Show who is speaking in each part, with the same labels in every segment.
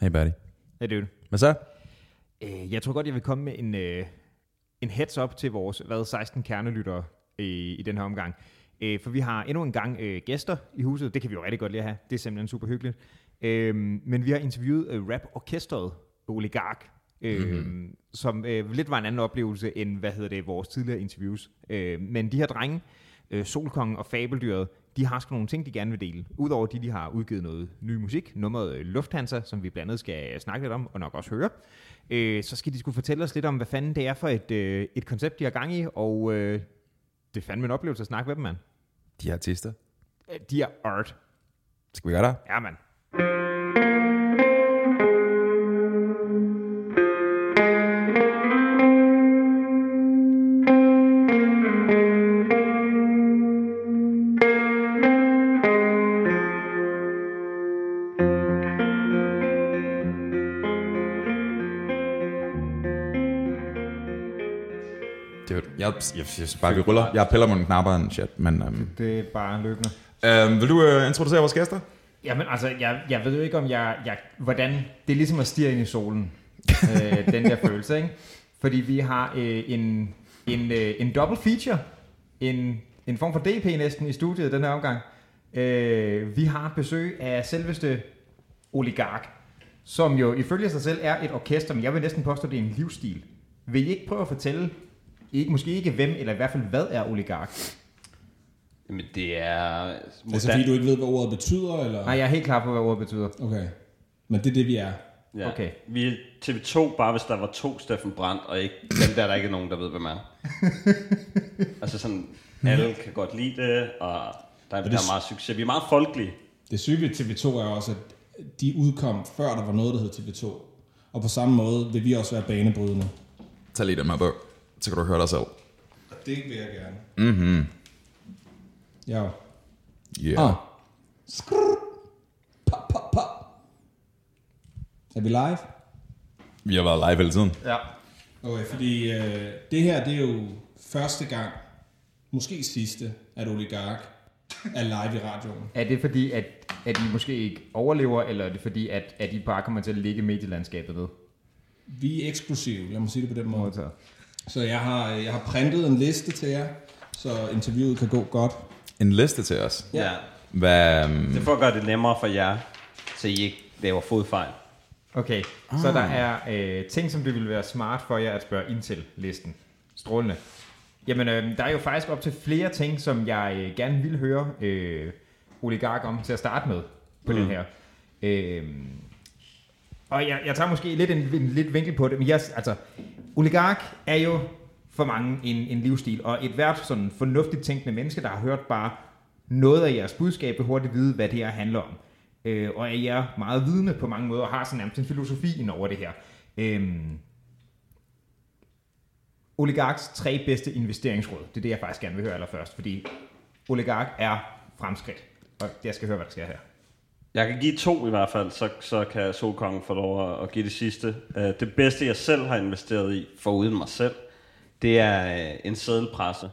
Speaker 1: Hey buddy.
Speaker 2: Hey dude.
Speaker 1: Hvad så?
Speaker 2: Øh, jeg tror godt, jeg vil komme med en, øh, en heads up til vores hvad, 16 kernelyttere øh, i den her omgang. Øh, for vi har endnu en gang øh, gæster i huset. Det kan vi jo rigtig godt lide at have. Det er simpelthen super hyggeligt. Øh, men vi har interviewet øh, rap-orkestret Oligark, øh, mm-hmm. som øh, lidt var en anden oplevelse end, hvad hedder det, vores tidligere interviews. Øh, men de her drenge, øh, Solkongen og Fabeldyret, de har sgu nogle ting, de gerne vil dele. Udover de, de har udgivet noget ny musik, nummeret øh, Lufthansa, som vi blandt andet skal øh, snakke lidt om, og nok også høre. Øh, så skal de skulle fortælle os lidt om, hvad fanden det er for et, øh, et koncept, de har gang i, og øh, det er fandme en oplevelse at snakke med dem, mand.
Speaker 1: De er artister.
Speaker 2: Øh, De er art.
Speaker 1: Skal vi gøre det?
Speaker 2: Ja, mand.
Speaker 1: Det er jo- jeg, jeg, jeg, synes bare, vi ruller. Jeg piller med nogle knapper og en shit, men... Øhm,
Speaker 2: Det er bare løbende.
Speaker 1: øhm, vil du øh, introducere vores gæster?
Speaker 2: Jamen altså, jeg, jeg ved jo ikke om jeg, jeg... Hvordan... Det er ligesom at stige ind i solen, øh, den der følelse, ikke? Fordi vi har øh, en, en, øh, en double feature, en, en form for DP næsten i studiet den her omgang. Øh, vi har besøg af selveste oligark, som jo ifølge sig selv er et orkester, men jeg vil næsten påstå, at det er en livsstil. Vil I ikke prøve at fortælle, ikke, måske ikke hvem, eller i hvert fald hvad er oligark?
Speaker 3: Jamen, det er...
Speaker 4: Altså fordi du ikke ved, hvad ordet betyder, eller?
Speaker 2: Nej, jeg er helt klar på, hvad ordet betyder.
Speaker 4: Okay. Men det er det, vi er.
Speaker 3: Ja.
Speaker 2: Okay.
Speaker 3: Vi er TV2, bare hvis der var to Steffen Brandt, og ikke dem der, der ikke er nogen, der ved, hvem er. altså sådan, alle kan godt lide det, og der, er, der er meget succes. Vi er meget folkelige.
Speaker 4: Det syge ved TV2 er også, at de udkom før der var noget, der hed TV2. Og på samme måde vil vi også være banebrydende.
Speaker 1: Tag lige den her på, så kan du høre dig selv.
Speaker 4: Og det vil jeg gerne. Mhm. Ja.
Speaker 1: Yeah.
Speaker 4: Ah. Skrrr. Pop, pop, pop. Er vi live?
Speaker 1: Vi har været live hele tiden.
Speaker 2: Ja.
Speaker 4: Okay, fordi øh, det her, det er jo første gang, måske sidste, at Oligark er live i radioen.
Speaker 2: Er det fordi, at, at I måske ikke overlever, eller er det fordi, at, at I bare kommer til at ligge medielandskabet ved?
Speaker 4: Vi er eksklusive, lad mig sige det på den måde. Så jeg har, jeg har printet en liste til jer, så interviewet kan gå godt.
Speaker 1: En liste til os.
Speaker 4: Ja.
Speaker 1: Hvad, øhm,
Speaker 3: Det er for at gøre det nemmere for jer, så I ikke laver fodfejl.
Speaker 2: Okay, så der er øh, ting, som det ville være smart for jer at spørge ind til listen. Strålende. Jamen, øh, der er jo faktisk op til flere ting, som jeg øh, gerne vil høre øh, oligark om til at starte med på mm. den her. Øh, og jeg, jeg tager måske lidt en, en lidt vinkel på det, men jeg, altså, oligark er jo for mange en, en livsstil, og et hvert sådan fornuftigt tænkende menneske, der har hørt bare noget af jeres budskab, vil hurtigt vide, hvad det her handler om. Øh, og er jer meget vidne på mange måder, og har sådan nærmest en filosofi ind over det her. Øhm, oligarks tre bedste investeringsråd, det er det, jeg faktisk gerne vil høre allerførst, fordi oligark er fremskridt, og jeg skal høre, hvad der sker her.
Speaker 3: Jeg kan give to i hvert fald, så, så kan Solkongen få lov at, at give det sidste. Uh, det bedste, jeg selv har investeret i, foruden mig selv, det er uh, en sædelpresse.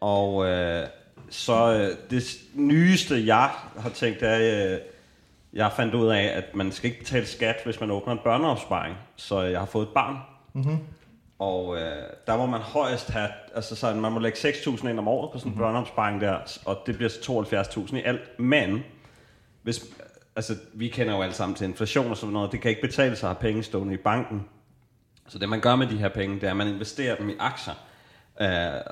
Speaker 3: Og uh, så uh, det s- nyeste, jeg har tænkt, det er, uh, jeg fandt ud af, at man skal ikke betale skat, hvis man åbner en børneopsparing. Så øh, jeg har fået et barn. Mm-hmm. Og øh, der må man højst have, altså sådan, man må lægge 6.000 ind om året på sådan en mm-hmm. børneopsparing der, og det bliver så 72.000 i alt. Men hvis, altså, vi kender jo alle sammen til inflation og sådan noget. Det kan ikke betale sig at have penge stående i banken. Så det, man gør med de her penge, det er, at man investerer dem i aktier. Uh,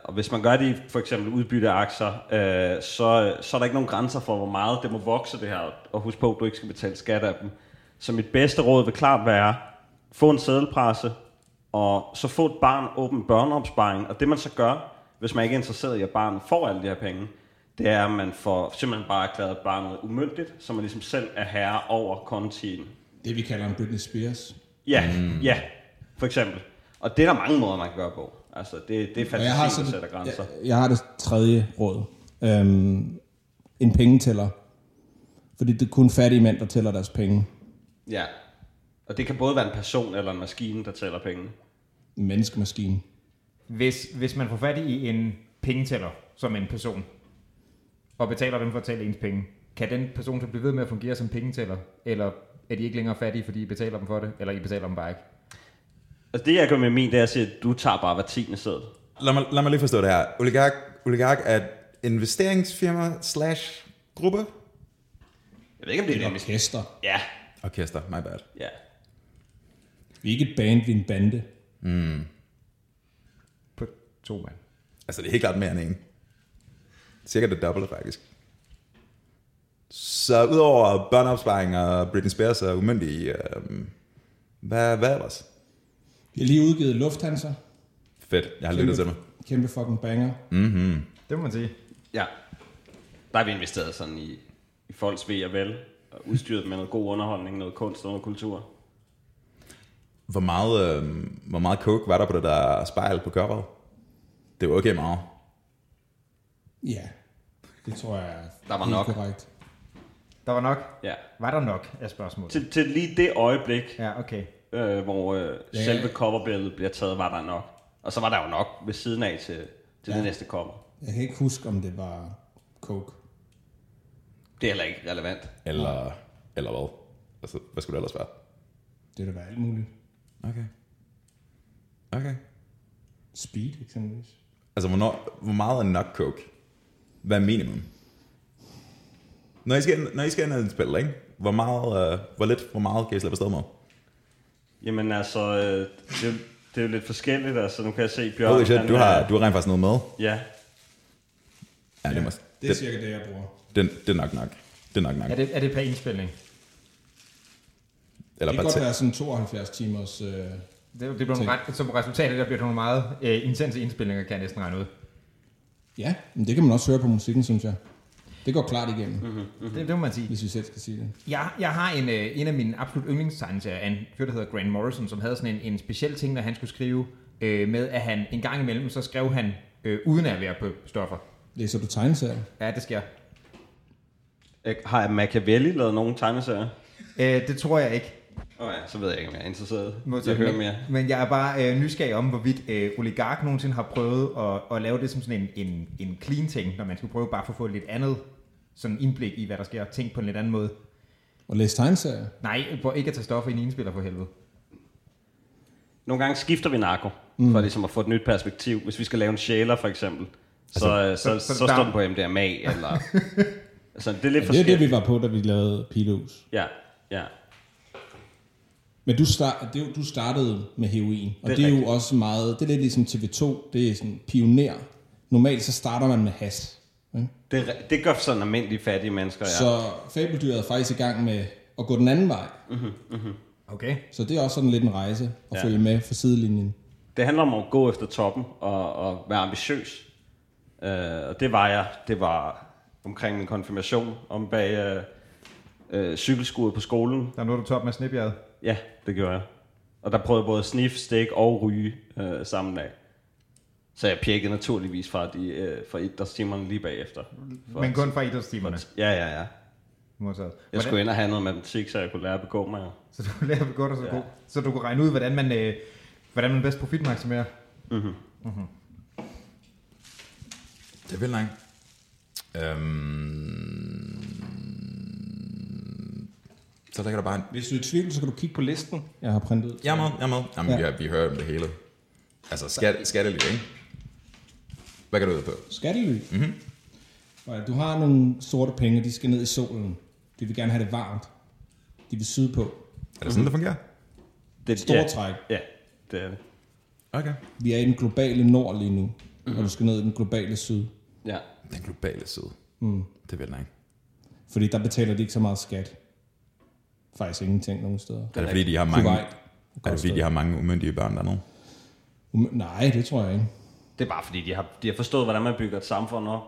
Speaker 3: og hvis man gør det i for eksempel udbytte af aktier, uh, så, så er der ikke nogen grænser for, hvor meget det må vokse det her. Og husk på, at du ikke skal betale skat af dem. Så mit bedste råd vil klart være, få en sædelpresse, og så få et barn åben børneopsparing. Og det man så gør, hvis man ikke er interesseret i, at barnet får alle de her penge, det er, at man får simpelthen bare erklæret barnet umyndigt, så man ligesom selv er herre over kontien.
Speaker 4: Det vi kalder en Britney Spears.
Speaker 3: Ja, mm. ja, for eksempel. Og det er der mange måder, man kan gøre på. Altså, det, det er
Speaker 4: Og jeg har,
Speaker 3: fantasien, der sætter
Speaker 4: sådan,
Speaker 3: grænser.
Speaker 4: jeg, jeg har det tredje råd. Øhm, en pengetæller. Fordi det er kun fattige mænd, der tæller deres penge.
Speaker 3: Ja. Og det kan både være en person eller en maskine, der tæller penge.
Speaker 4: En menneskemaskine.
Speaker 2: Hvis, hvis man får fat i en pengetæller som en person, og betaler dem for at tælle ens penge, kan den person så blive ved med at fungere som pengetæller, eller er de ikke længere fattige, fordi I betaler dem for det, eller I betaler dem bare ikke?
Speaker 3: Altså det, jeg gør med min, det er at sige, at du tager bare hver tiende sæde.
Speaker 1: Lad mig, lad mig lige forstå det her. Oligark, oligark er et investeringsfirma slash gruppe.
Speaker 3: Jeg ved ikke, om det er
Speaker 4: Et
Speaker 3: det. vi-
Speaker 4: orkester.
Speaker 3: Ja,
Speaker 1: Orkester, my bad.
Speaker 3: ja.
Speaker 4: Vi er ikke et band, vi er en bande.
Speaker 2: På to mand.
Speaker 1: Altså, det er helt klart mere end en. Cirka det dobbelte, faktisk. Så udover børneopsparing og Britney Spears og umyndige, øh, hvad, hvad ellers?
Speaker 4: Vi har lige udgivet Lufthansa.
Speaker 1: Fedt, jeg har lyttet til mig.
Speaker 4: Kæmpe fucking banger.
Speaker 2: Det må man sige.
Speaker 3: Ja. Der har vi investeret sådan i, i folks ved og vel, og udstyret med noget god underholdning, noget kunst og noget kultur.
Speaker 1: Hvor meget, øh, hvor meget coke var der på det der spejl på coveret? Det var okay meget.
Speaker 4: Ja, det tror jeg er
Speaker 3: Der var
Speaker 4: helt
Speaker 3: nok.
Speaker 4: korrekt.
Speaker 2: Der var nok.
Speaker 3: Ja.
Speaker 2: Var der nok af spørgsmålet?
Speaker 3: Til, til lige det øjeblik,
Speaker 2: Ja, okay.
Speaker 3: øh, hvor øh,
Speaker 4: Ja.
Speaker 3: selve coverbilledet bliver taget, var der nok. Og så var der jo nok ved siden af til, til ja. det næste cover.
Speaker 4: Jeg kan ikke huske, om det var coke.
Speaker 3: Det er heller ikke relevant.
Speaker 1: Eller, eller hvad? Altså, hvad skulle det ellers være?
Speaker 4: Det der var alt muligt.
Speaker 1: Okay. Okay.
Speaker 4: Speed eksempelvis.
Speaker 1: Altså, hvornår, hvor meget er nok coke? Hvad er minimum? Når I skal, når I skal ind og spille, ikke? Hvor, meget, øh, hvor lidt, hvor meget kan I slippe afsted med?
Speaker 3: Jamen altså, øh, det, er jo- det er jo lidt forskelligt. Altså, nu kan jeg se Bjørn.
Speaker 1: Holy shit,
Speaker 3: han
Speaker 1: du
Speaker 3: er-
Speaker 1: har, du har rent faktisk noget med.
Speaker 3: Ja,
Speaker 1: Ja, det, må,
Speaker 4: Det er cirka det, jeg bruger.
Speaker 1: det, det, er nok nok. Det er nok nok.
Speaker 2: Er det, er det per indspilning?
Speaker 1: Eller
Speaker 4: Det kan
Speaker 1: bare
Speaker 4: godt
Speaker 1: til.
Speaker 4: være sådan 72 timers... Øh,
Speaker 2: Det, det blev nogle ret, som resultat af det, der bliver det nogle meget øh, intense indspilninger, kan jeg næsten regne ud.
Speaker 4: ja, men det kan man også høre på musikken, synes jeg. Det går klart igennem, mm-hmm.
Speaker 2: Mm-hmm. Det, det må man sige.
Speaker 4: hvis vi selv skal sige det.
Speaker 2: Jeg, jeg har en, øh, en af mine absolut yndlingstegneserier af en fyr, der hedder Grant Morrison, som havde sådan en, en speciel ting, når han skulle skrive, øh, med at han en gang imellem, så skrev han, øh, uden at være på stoffer.
Speaker 4: Læser du tegneserier?
Speaker 2: Ja, det sker.
Speaker 3: Øh, Har Machiavelli lavet nogen tegneserier?
Speaker 2: Øh, det tror jeg ikke.
Speaker 3: Åh oh ja, så ved jeg ikke, om jeg er interesseret.
Speaker 2: Modtaget.
Speaker 3: jeg hører
Speaker 2: men,
Speaker 3: mere.
Speaker 2: Men jeg er bare øh, nysgerrig om, hvorvidt øh, oligark nogensinde har prøvet at, at lave det som sådan en, en, en clean ting, når man skulle prøve bare for at få lidt andet sådan indblik i, hvad der sker, og tænke på en lidt anden måde.
Speaker 4: Og læser tegneserier?
Speaker 2: Nej, prøv ikke at tage stoffer i en indspiller for helvede.
Speaker 3: Nogle gange skifter vi narko, mm. for ligesom at få et nyt perspektiv. Hvis vi skal lave en sjæler, for eksempel, så, altså,
Speaker 2: så-
Speaker 3: så, så, så,
Speaker 2: så
Speaker 3: så
Speaker 2: der-
Speaker 3: står den på MDMA, eller... altså, det er lidt ja,
Speaker 4: Ja, det er det,
Speaker 3: forskelligt.
Speaker 4: vi var på, da vi lavede Pilehus.
Speaker 3: Ja, ja.
Speaker 4: Men du, start, det, er jo- du startede med heroin, og
Speaker 3: Det er
Speaker 4: det er, det er jo
Speaker 3: rigtigt.
Speaker 4: også meget... Det er lidt ligesom TV2, det er sådan pioner. Normalt så starter man med has. Ikke?
Speaker 3: Det, er re- det gør sådan almindelige fattige mennesker, ja.
Speaker 4: Så fabeldyret er faktisk i gang med at gå den anden vej.
Speaker 2: Okay.
Speaker 4: Så det er også sådan lidt en rejse at
Speaker 3: Ja.
Speaker 4: ja. følge med for sidelinjen.
Speaker 3: Det handler om at gå efter toppen og, og være ambitiøs. Øh, og det var jeg. Det var omkring min konfirmation, om bag øh, øh, cykelskuddet på skolen.
Speaker 2: Der er noget, du top med snibjerget.
Speaker 3: Ja, det gjorde jeg. Og der prøvede jeg både at sniffe, stik og ryge øh, sammen af. Så jeg pjekkede naturligvis fra, de, øh, fra idrætstimerne lige bagefter. For,
Speaker 2: Men kun fra idrætstimerne.
Speaker 3: Ja, ja, ja.
Speaker 2: Modtaget.
Speaker 3: Jeg
Speaker 2: Hvordan,
Speaker 3: skulle ind og have noget matematik, så jeg kunne lære at begå mig.
Speaker 2: så du lærer at gå dig så
Speaker 3: Ja.
Speaker 2: god, så du kunne regne ud, hvordan man, øh, hvordan man bedst profitmaksimerer.
Speaker 1: Det er vildt langt. Øhm, så ligger der bare en...
Speaker 4: Hvis du er i tvivl, så kan du kigge på listen, jeg har printet ud.
Speaker 1: Jeg er med, jeg er med. Jamen,
Speaker 4: Ja.
Speaker 1: ja. vi, har, vi hører om det hele. Altså, skat, skattely, ikke? Hvad kan du ud på?
Speaker 4: Skattely. Mm-hmm. Og du har nogle sorte penge, de skal ned i solen. De vil gerne have det varmt. De vil syde på.
Speaker 1: Er det sådan, det fungerer?
Speaker 3: Det er
Speaker 4: Store træk.
Speaker 3: Ja, det er det.
Speaker 1: Okay.
Speaker 4: Vi er i den globale nord lige nu, mm-hmm. og du skal ned i den globale syd.
Speaker 3: Ja.
Speaker 1: Den globale side.
Speaker 4: Mm.
Speaker 1: Det er vildt langt.
Speaker 4: Fordi der betaler de ikke så meget skat. Faktisk ingenting nogen steder.
Speaker 1: Er det fordi, de har mange,
Speaker 4: Kuwait.
Speaker 1: er det, fordi de har mange umyndige børn dernede?
Speaker 4: Um, nej, det tror jeg ikke.
Speaker 3: Det er bare fordi, de har, de har forstået, hvordan man bygger et samfund op.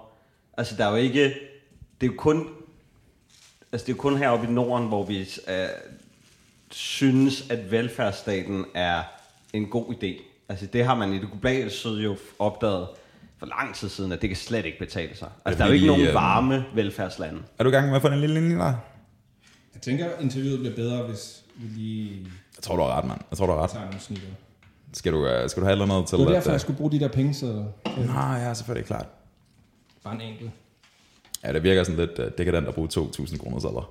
Speaker 3: Altså, der er jo ikke... Det er jo kun... Altså, det er jo kun heroppe i Norden, hvor vi øh, synes, at velfærdsstaten er en god idé. Altså, det har man i det globale syd jo opdaget for lang tid siden, at det kan slet ikke betale sig. Altså, der er jo ikke
Speaker 1: fordi,
Speaker 3: nogen
Speaker 1: øh,
Speaker 3: varme velfærdslande.
Speaker 1: Er du i gang med at få den lille linje der?
Speaker 4: Jeg tænker, at interviewet bliver bedre, hvis vi lige
Speaker 1: Jeg tror, du har ret, mand. Jeg tror, du har ret.
Speaker 4: tager nogle snitter.
Speaker 1: Skal du, øh, skal du have et eller andet til?
Speaker 4: Det var
Speaker 1: at,
Speaker 4: derfor,
Speaker 1: øh,
Speaker 4: jeg skulle bruge de der penge, så
Speaker 1: Nej, ja, selvfølgelig, klart.
Speaker 4: bare en enkelt.
Speaker 1: Ja, det virker sådan lidt øh, dekadent at bruge 2.000 kroner sædler.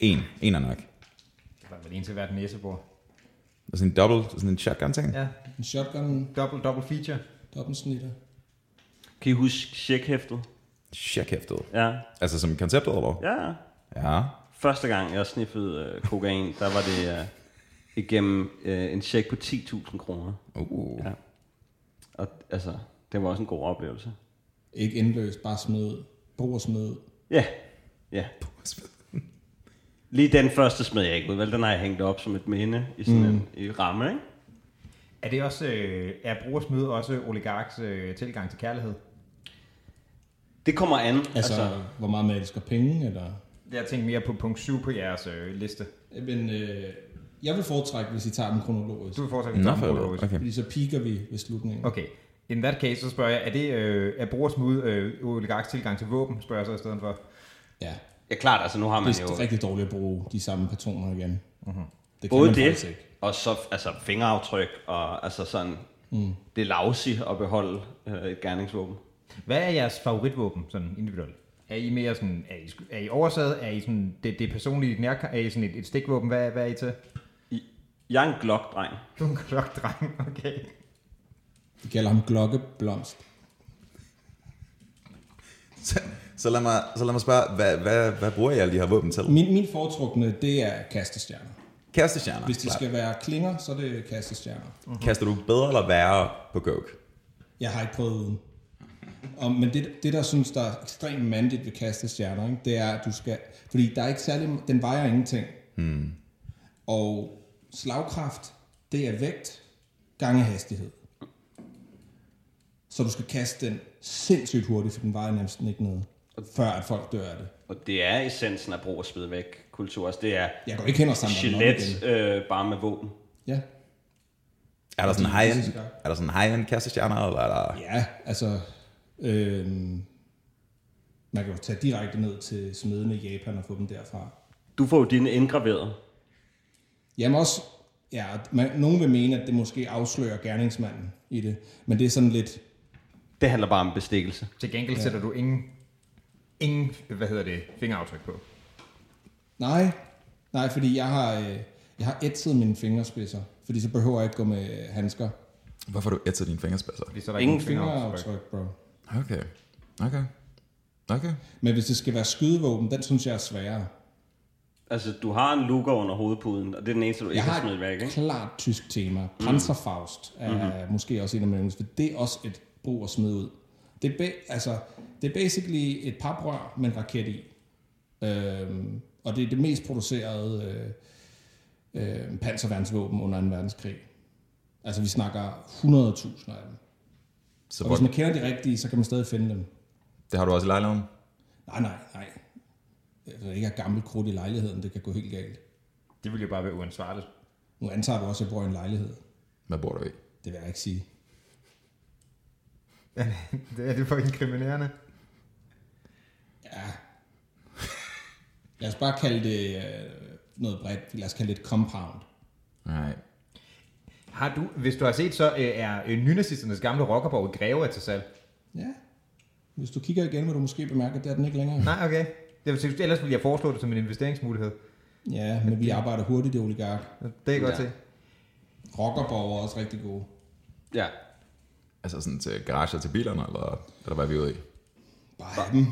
Speaker 1: En. En er nok.
Speaker 2: Det var vel en til hvert næsebord.
Speaker 1: Og sådan en double, sådan en shotgun-ting. Ja.
Speaker 2: Ja,
Speaker 4: En shotgun,
Speaker 2: double, double feature.
Speaker 4: dobbeltsnitter.
Speaker 3: Kan I huske checkhæftet?
Speaker 1: Check-hæftet.
Speaker 3: Ja.
Speaker 1: Altså som konceptet, eller? Ja.
Speaker 3: ja.
Speaker 1: ja.
Speaker 3: Første gang jeg sniffede øh, kokain, der var det øh, igennem øh, en check på 10.000 kroner.
Speaker 1: Uh.
Speaker 3: Ja. Og altså, det var også en god oplevelse.
Speaker 4: Ikke indløst, bare smid. ud. Brug og smid. ud.
Speaker 3: Ja, ja. Lige den første smed jeg ikke ud, vel? Den har jeg hængt op som et minde i sådan mm. en i ramme, ikke?
Speaker 2: Er det også, øh, er brugersmøde også oligarks øh, tilgang til kærlighed?
Speaker 3: Det kommer an.
Speaker 4: Altså, altså, hvor meget man elsker penge, eller...
Speaker 2: Jeg tænkte mere på punkt 7 på jeres øh, liste.
Speaker 4: Men øh, jeg vil foretrække, hvis I tager dem kronologisk.
Speaker 2: Du vil fortsætte
Speaker 1: Nå, for
Speaker 2: dommerprøve,
Speaker 1: helvede.
Speaker 2: Rose.
Speaker 1: okay.
Speaker 4: Fordi så piker vi ved slutningen.
Speaker 2: Okay. In that case, så spørger jeg, er, det, øh, er brugersmøde øh, oligarks tilgang til våben, spørger jeg så i stedet for.
Speaker 4: Ja,
Speaker 3: ja, klart, altså nu har man
Speaker 4: det er
Speaker 3: jo
Speaker 4: rigtig dårligt at bruge de samme patroner igen. Mm-hmm. Det kan
Speaker 3: både
Speaker 4: man faktisk
Speaker 3: det,
Speaker 4: ikke.
Speaker 3: og så altså, fingeraftryk, og altså sådan, mm. det er lousy at beholde øh, et gerningsvåben.
Speaker 2: Hvad er jeres favoritvåben, sådan individuelt? Er I mere sådan, er I, sk- er I oversaget? Er I sådan, det, det personlige nær, er I sådan et, et stikvåben? Hvad, hvad er I til?
Speaker 3: I- Jeg er en glokdreng.
Speaker 2: Du er en klokdreng, okay.
Speaker 4: De kalder ham Glokkeblomst.
Speaker 1: Så, så, lad mig, så lad mig spørge, hvad, hvad, hvad bruger I alle de her våben til?
Speaker 4: Min, min foretrukne, det er kastestjerner.
Speaker 1: Kastestjerner.
Speaker 4: Hvis det
Speaker 1: klart.
Speaker 4: skal være klinger, så er det kastestjerner.
Speaker 1: Kaster du bedre eller værre på coke?
Speaker 4: Jeg har ikke prøvet uden. Og, men det, det, der synes, der er ekstremt mandigt ved kastestjerner, ikke, det er, at du skal... Fordi der er ikke særlig... Den vejer ingenting. Hmm. Og slagkraft, det er vægt gange hastighed. Så du skal kaste den sindssygt hurtigt, for den vejer næsten ikke noget, før at folk dør af det.
Speaker 3: Og det er essensen af brug og smid væk kultur. Altså, det er
Speaker 4: Jeg går ikke hen og samler den op igen.
Speaker 3: Gillette øh, bare med våben.
Speaker 4: Ja.
Speaker 1: Er der sådan high-end,
Speaker 4: fysisk, ja.
Speaker 1: er der sådan high-end kastestjerner, eller er der...
Speaker 4: Ja, altså... Øhm, man kan jo tage direkte ned til smedene i Japan og få dem derfra.
Speaker 3: Du får jo dine indgraveret.
Speaker 4: Jamen også, ja, man, nogen vil mene, at det måske afslører gerningsmanden i det, men det er sådan lidt,
Speaker 3: Det handler bare om bestikkelse.
Speaker 2: Til gengæld ja. sætter du ingen, ingen, hvad hedder det, fingeraftryk på.
Speaker 4: nej, nej, fordi jeg har, øh, jeg har ætset mine fingerspidser, fordi så behøver jeg ikke gå med øh, handsker.
Speaker 1: Hvorfor har du ætset dine fingerspidser?
Speaker 2: Fordi så er der
Speaker 3: Ingen
Speaker 2: ikke nogen
Speaker 4: Fingeraftryk, bro.
Speaker 1: Okay. Okay. Okay.
Speaker 4: Men hvis det skal være skydevåben, den synes jeg er sværere.
Speaker 3: Altså, du har en lukker under hovedpuden, og det er den eneste, du
Speaker 4: Jeg
Speaker 3: ikke har
Speaker 4: har
Speaker 3: smidt væk,
Speaker 4: et
Speaker 3: ikke?
Speaker 4: klart tysk tema. Panzerfaust er mm-hmm. måske også en af mine yndlings, for det er også et brug at smide ud. Det er, ba- altså, det er basically et paprør med en raket i. Øhm, og det er det mest producerede øh, øh, panserværnsvåben under 2. verdenskrig. Altså vi snakker 100.000 af dem.
Speaker 1: Så
Speaker 4: Og
Speaker 1: hvor,
Speaker 4: hvis man kender de rigtige, så kan man stadig finde dem.
Speaker 1: det har du også i lejligheden?
Speaker 4: Nej, nej, nej. Hvis der ikke er gammelt krudt i lejligheden, det kan gå helt galt.
Speaker 2: Det ville jo bare være uansvarligt.
Speaker 4: Nu antager vi også, at jeg bor i en lejlighed.
Speaker 1: Hvad bor du i?
Speaker 4: Det vil jeg ikke sige.
Speaker 2: det er det for inkriminerende.
Speaker 4: Ja. Lad os bare kalde det øh, noget bredt. Lad os kalde det et compound.
Speaker 1: Nej.
Speaker 2: Har du, hvis du har set, så øh, er øh, nynazisternes gamle rockerborg i Greve er til salg.
Speaker 4: Ja. Hvis du kigger igen, vil du måske bemærke, at det er den ikke længere.
Speaker 2: Nej, okay. Det vil, sige, ellers ville jeg foreslå det som en investeringsmulighed.
Speaker 4: Ja, men vi arbejder hurtigt i oligark.
Speaker 2: Det er godt ja.
Speaker 3: Ja.
Speaker 2: til.
Speaker 4: Rockerborg er også rigtig gode.
Speaker 3: Ja.
Speaker 1: Altså sådan til garager til bilerne, eller, eller hvad er vi ude i?
Speaker 4: Bare have dem.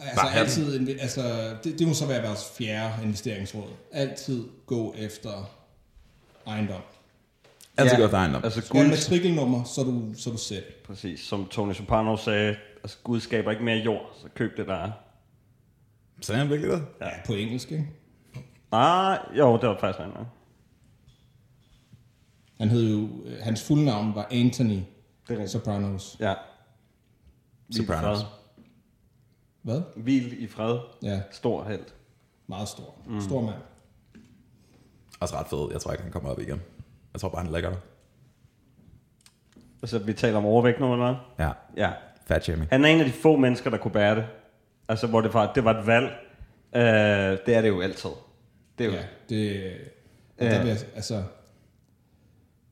Speaker 4: Altså,
Speaker 1: Bare have
Speaker 4: altid, inve- altså det, det, må så være vores fjerde investeringsråd. Altid gå efter ejendom.
Speaker 1: Altid
Speaker 3: Ja.
Speaker 1: ja. godt ejendom.
Speaker 3: Altså,
Speaker 4: Skal du
Speaker 3: Gud,
Speaker 4: have matrikelnummer, så er du, så er du sæt.
Speaker 3: præcis, som Tony Soprano sagde, altså, Gud skaber ikke mere jord, så køb det, der er.
Speaker 1: Sagde han virkelig det?
Speaker 4: Ja. På engelsk, ikke?
Speaker 3: Nej, Ah, jo, det var faktisk rent. nok.
Speaker 4: Han hed jo, øh, hans fulde navn var Anthony
Speaker 3: Det er rigtigt.
Speaker 4: Sopranos.
Speaker 3: Ja. Hvil i
Speaker 1: Sopranos.
Speaker 3: fred.
Speaker 4: Hvad?
Speaker 3: Hvil i fred.
Speaker 4: Ja,
Speaker 3: Stor held.
Speaker 4: meget stor. Mm. Stor mand.
Speaker 1: Også ret fed. Jeg tror ikke, han kommer op igen. Jeg tror bare, han lægger det.
Speaker 3: Altså, vi taler om overvægt nu, eller hvad?
Speaker 1: Ja.
Speaker 3: Ja.
Speaker 1: Fat shaming.
Speaker 3: Han er en af de få mennesker, der kunne bære det. Altså, hvor det var, det var et valg. Øh, det er det jo altid. Det er jo.
Speaker 4: Ja,
Speaker 3: Ja.
Speaker 4: det... Og der vil jeg, altså...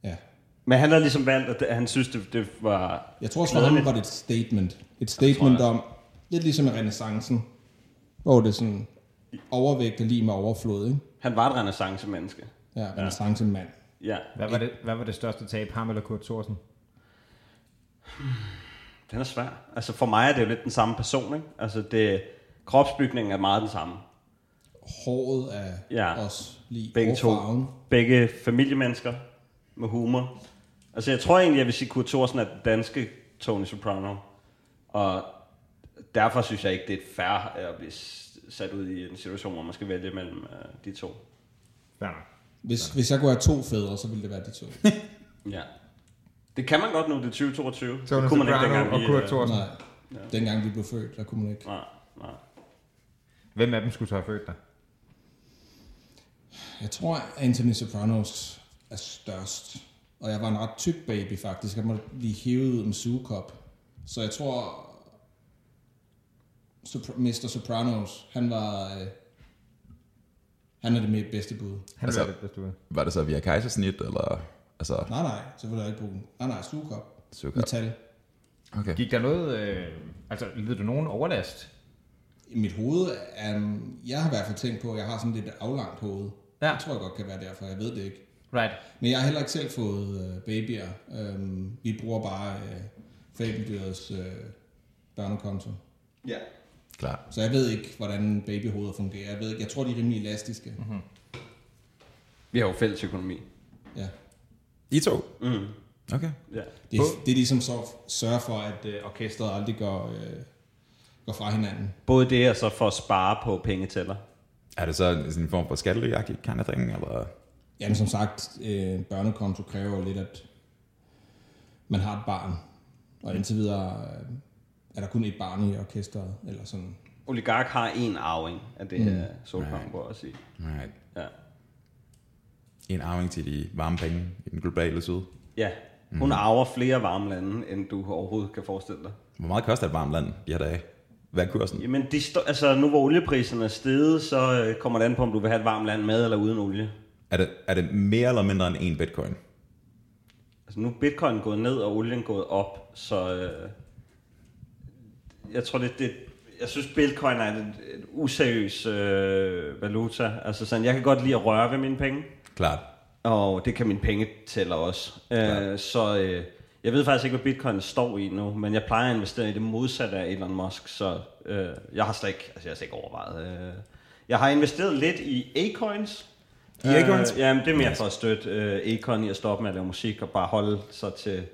Speaker 4: Ja.
Speaker 3: Men han har ligesom valgt, at det- han synes, det, det var...
Speaker 4: Jeg tror også, for ham var det et statement. Et statement om, Lidt ligesom i renaissancen, hvor det er sådan overvægt er lige med overflod, ikke?
Speaker 3: Han var et renaissance-menneske.
Speaker 4: Ja, renaissancemand.
Speaker 3: Ja,
Speaker 2: Hvad var, det, hvad var det største tab, ham eller Kurt Thorsen?
Speaker 3: den er svær. Altså for mig er det jo lidt den samme person, ikke? Altså det, kropsbygningen er meget den samme.
Speaker 4: Håret er
Speaker 3: Ja.
Speaker 4: ja. også lige
Speaker 3: Begge
Speaker 4: over
Speaker 3: to.
Speaker 4: farven.
Speaker 3: Begge familiemennesker med humor. Altså jeg tror egentlig, jeg vil sige, Kurt Thorsen er den danske Tony Soprano. Og derfor synes jeg ikke, det er fair øh, at blive s- sat ud i en situation, hvor man skal vælge mellem øh, de to.
Speaker 2: Fair nok.
Speaker 4: Hvis, hvis jeg kunne have to fædre, så ville det være de to.
Speaker 3: Ja. Det kan man godt nu, det er 2022.
Speaker 2: Tony
Speaker 3: det kunne man ikke
Speaker 2: Soprano
Speaker 3: dengang.
Speaker 2: og
Speaker 3: vi,
Speaker 2: Kurt
Speaker 3: øh,
Speaker 2: Thorsen.
Speaker 4: Nej. Dengang vi blev født, der kunne man ikke.
Speaker 3: Nej, nej.
Speaker 2: Hvem af dem skulle så have født dig?
Speaker 4: Jeg tror, Anthony Sopranos er størst. Og jeg var en ret tyk baby, faktisk. Jeg måtte blive hævet ud med sugekop. Så jeg tror, Sopra- Mr. Sopranos, han var... Øh, han er det med bedste bud.
Speaker 2: Han
Speaker 1: Altså-
Speaker 2: altså, det bedste ud.
Speaker 1: Var det så via kejsersnit, eller... Altså,
Speaker 4: Nej, nej, så vil jeg ikke bruge den. Nej, nej, sugekop.
Speaker 1: sugekop.
Speaker 4: Metal.
Speaker 1: okay.
Speaker 2: Gik der noget, øh, altså led du nogen overlast?
Speaker 4: I mit hoved, um, jeg har i hvert fald tænkt på, at jeg har sådan lidt et aflangt hoved.
Speaker 2: Ja.
Speaker 4: Det tror jeg godt kan være derfor, jeg ved det ikke.
Speaker 2: Right.
Speaker 4: Men jeg har heller ikke selv fået øh, babyer. Øhm, vi bruger bare øh, fabeldyrs øh, børnekonto.
Speaker 3: Ja.
Speaker 1: Klart.
Speaker 4: Så jeg ved ikke, hvordan babyhoveder fungerer. Jeg, ved ikke, jeg tror, de er rimelig elastiske. Mm-hmm.
Speaker 3: Vi har jo fælles økonomi.
Speaker 4: Ja.
Speaker 1: I to?
Speaker 3: Mm.
Speaker 1: Okay.
Speaker 3: Ja.
Speaker 4: Det, er, det er ligesom så sørge for, at øh, orkestret aldrig går, øh, går fra hinanden.
Speaker 3: Både det og så for at spare på pengetæller.
Speaker 1: Er det så en, sådan en form for skattelyagtig kind of thing, eller...
Speaker 4: Jamen som sagt, øh, børnekonto kræver jo lidt, at man har et barn. Og indtil videre øh, er der kun et barn i orkestret. Eller sådan.
Speaker 3: Oligark har en arving af det her mm. solkongen,
Speaker 1: Right.
Speaker 3: right. at sige.
Speaker 1: Nej.
Speaker 3: Ja.
Speaker 1: En arving til de varme penge i den globale syd.
Speaker 3: ja. Hun mm. arver flere varme lande, end du overhovedet kan forestille dig.
Speaker 1: Hvor meget koster et varmt land de her dage? Hvad er kursen?
Speaker 3: Jamen, de sto- altså, nu hvor oliepriserne er steget, så øh, kommer det an på, om du vil have et varmt land med eller uden olie.
Speaker 1: Er det, er det mere eller mindre end en bitcoin?
Speaker 3: Altså, nu er bitcoin gået ned, og olien gået op, så øh, jeg tror, det, det jeg synes, bitcoin er en, en useriøs øh, valuta. Altså sådan, jeg kan godt lide at røre ved mine penge.
Speaker 1: Klart.
Speaker 3: Og det kan min penge tæller også. Øh, så øh, jeg ved faktisk ikke, hvad bitcoin står i nu, men jeg plejer at investere i det modsatte af Elon Musk, så øh, jeg har slet ikke, altså, jeg har slet ikke overvejet. Øh. Jeg har investeret lidt i A-coins.
Speaker 1: I Acorns?
Speaker 3: Øh, jamen, det er mere for at støtte øh, Acon i at stoppe med at lave musik og bare holde sig til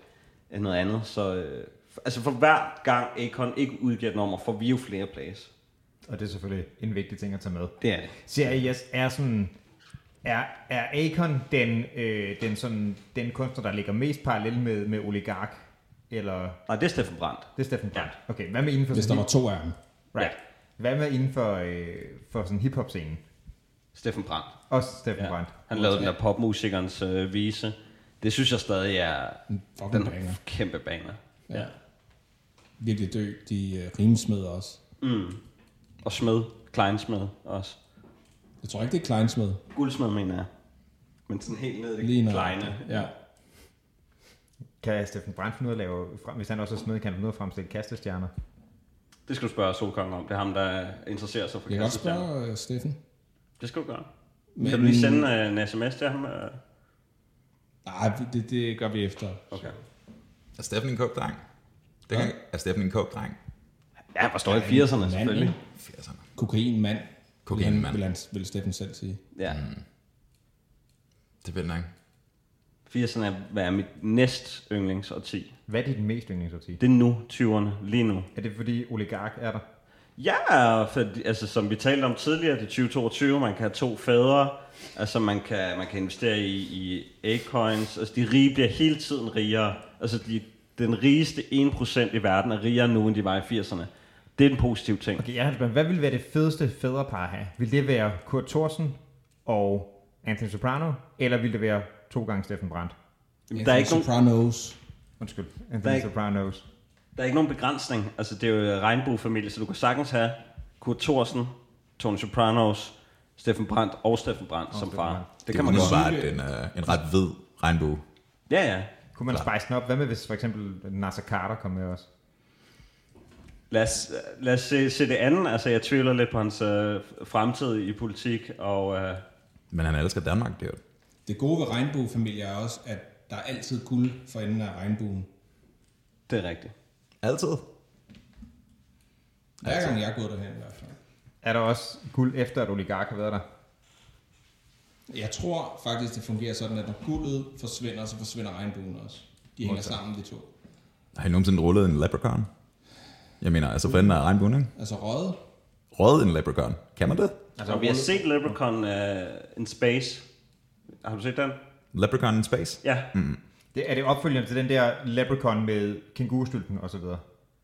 Speaker 3: øh, noget andet. Så, øh, f- altså for hver gang Acon ikke udgiver et nummer, får vi jo flere plays.
Speaker 2: Og det er selvfølgelig en vigtig ting at tage med.
Speaker 3: Det er det.
Speaker 2: Ser I, yes, er sådan... Er, er Akon den, øh, den, sådan, den kunstner, der ligger mest parallel med, med oligark? Eller...
Speaker 3: Nej, det er Steffen Brandt.
Speaker 2: Det er Steffen Brandt. Okay, hvad med inden for...
Speaker 4: Hvis der
Speaker 2: sådan
Speaker 4: var to af dem.
Speaker 2: Right. Hvad med inden for, øh, for sådan hiphop-scenen?
Speaker 3: Steffen Brandt.
Speaker 2: Også Steffen ja. Brandt.
Speaker 3: Han lavede den der popmusikernes øh, vise. Det synes jeg stadig er
Speaker 4: Fucking
Speaker 3: den
Speaker 4: banger.
Speaker 3: kæmpe baner.
Speaker 4: Ja. Virkelig dygtige øh, rimsmeder også.
Speaker 3: Og smed. Kleinsmed også.
Speaker 4: Jeg tror ikke, det er Kleinsmed.
Speaker 3: Guldsmed, mener jeg. Men sådan helt ned i
Speaker 4: Lige
Speaker 3: det
Speaker 4: noget.
Speaker 3: kleine.
Speaker 4: Ja.
Speaker 2: Kan Steffen Brandt finde ud af at lave... frem- Hvis han også er smed, kan han finde ud af at fremstille kastestjerner?
Speaker 3: Det skal du spørge Solkongen om. Det er ham, der interesserer sig for
Speaker 4: Jeg kan godt
Speaker 3: kastestjerner.
Speaker 4: spørge øh, Steffen.
Speaker 3: Det skal du gøre.
Speaker 4: Men-
Speaker 3: Kan du lige sende øh, en sms til ham? øh?
Speaker 4: Nej, det, det gør vi efter.
Speaker 3: Okay.
Speaker 1: Er Steffen en kog dreng? Det kan, Er Steffen en kog dreng?
Speaker 3: Ja, han var stået i 80'erne
Speaker 4: Mand,
Speaker 3: selvfølgelig.
Speaker 4: ikke?
Speaker 1: 80'erne.
Speaker 4: Kokainmand.
Speaker 1: Kokainmand.
Speaker 4: Vil han- Vil, han, vil Steffen selv sige.
Speaker 3: Ja.
Speaker 4: Mm.
Speaker 1: Det vil nok.
Speaker 3: 80'erne er, hvad er mit næst yndlingsårti.
Speaker 2: Hvad er dit mest yndlingsparti?
Speaker 3: Det er nu, 20'erne, lige nu.
Speaker 2: Er det fordi oligark er der?
Speaker 3: Ja, for, altså som vi talte om tidligere, det er 2022, man kan have to fædre, altså man kan, man kan investere i, i A-coins, altså de rige bliver hele tiden rigere, altså de, den rigeste 1% i verden er rigere nu, end de var i 80'erne. Det er en positiv ting.
Speaker 2: Okay, jeg har et spørgsmål. Hvad ville være det fedeste fædrepar at have? Vil det være Kurt Thorsen og Anthony Soprano, eller vil det være to gange Steffen Brandt?
Speaker 3: Okay. Der, er ikke nogen,
Speaker 4: Sopranos.
Speaker 2: Undskyld, Anthony
Speaker 3: Der er
Speaker 2: Nej.
Speaker 3: ikke-
Speaker 2: Sopranos.
Speaker 3: der er ikke nogen begrænsning, altså det er jo regnbuefamilie, så du kan sagtens have Kurt Thorsen, Tony Sopranos, Steffen Brandt og Steffen Brandt som
Speaker 2: Steffen
Speaker 3: far.
Speaker 2: Brandt.
Speaker 3: Det kan man
Speaker 1: jo
Speaker 3: godt.
Speaker 1: bare en, øh, en ret hvid regnbue.
Speaker 3: Ja, ja.
Speaker 2: Kunne man spejse den op? Hvad med hvis for eksempel Nasser Carter kom med os?
Speaker 3: Lad os, lad os se, se det andet. Altså, jeg tvivler lidt på hans øh, fremtid i politik, og øh,
Speaker 1: Men han elsker Danmark, det er jo.
Speaker 4: Det gode ved regnbuefamilier er også, at der er altid guld for enden af regnbuen.
Speaker 3: det er rigtigt.
Speaker 1: Altid.
Speaker 4: Hver
Speaker 3: altså-
Speaker 4: gang jeg er gået derhen i hvert fald.
Speaker 2: Er der også guld efter, at oligark har været der?
Speaker 4: Jeg tror faktisk, det fungerer sådan, at når guldet forsvinder, så forsvinder regnbuen også. De hænger
Speaker 2: Modtaget.
Speaker 4: sammen, de to.
Speaker 1: Har I nogensinde rullet en leprechaun? Jeg mener, altså for enden af regnbuen, ikke?
Speaker 4: Altså røget,
Speaker 1: Røget en leprechaun. Kan man det?
Speaker 3: Altså, og vi har set Leprechaun øh, in Space. Har du set den?
Speaker 1: Leprechaun in space?
Speaker 3: Ja. Mm.
Speaker 2: Det, er det opfølgende til den der leprechaun med kængurustylten og så videre?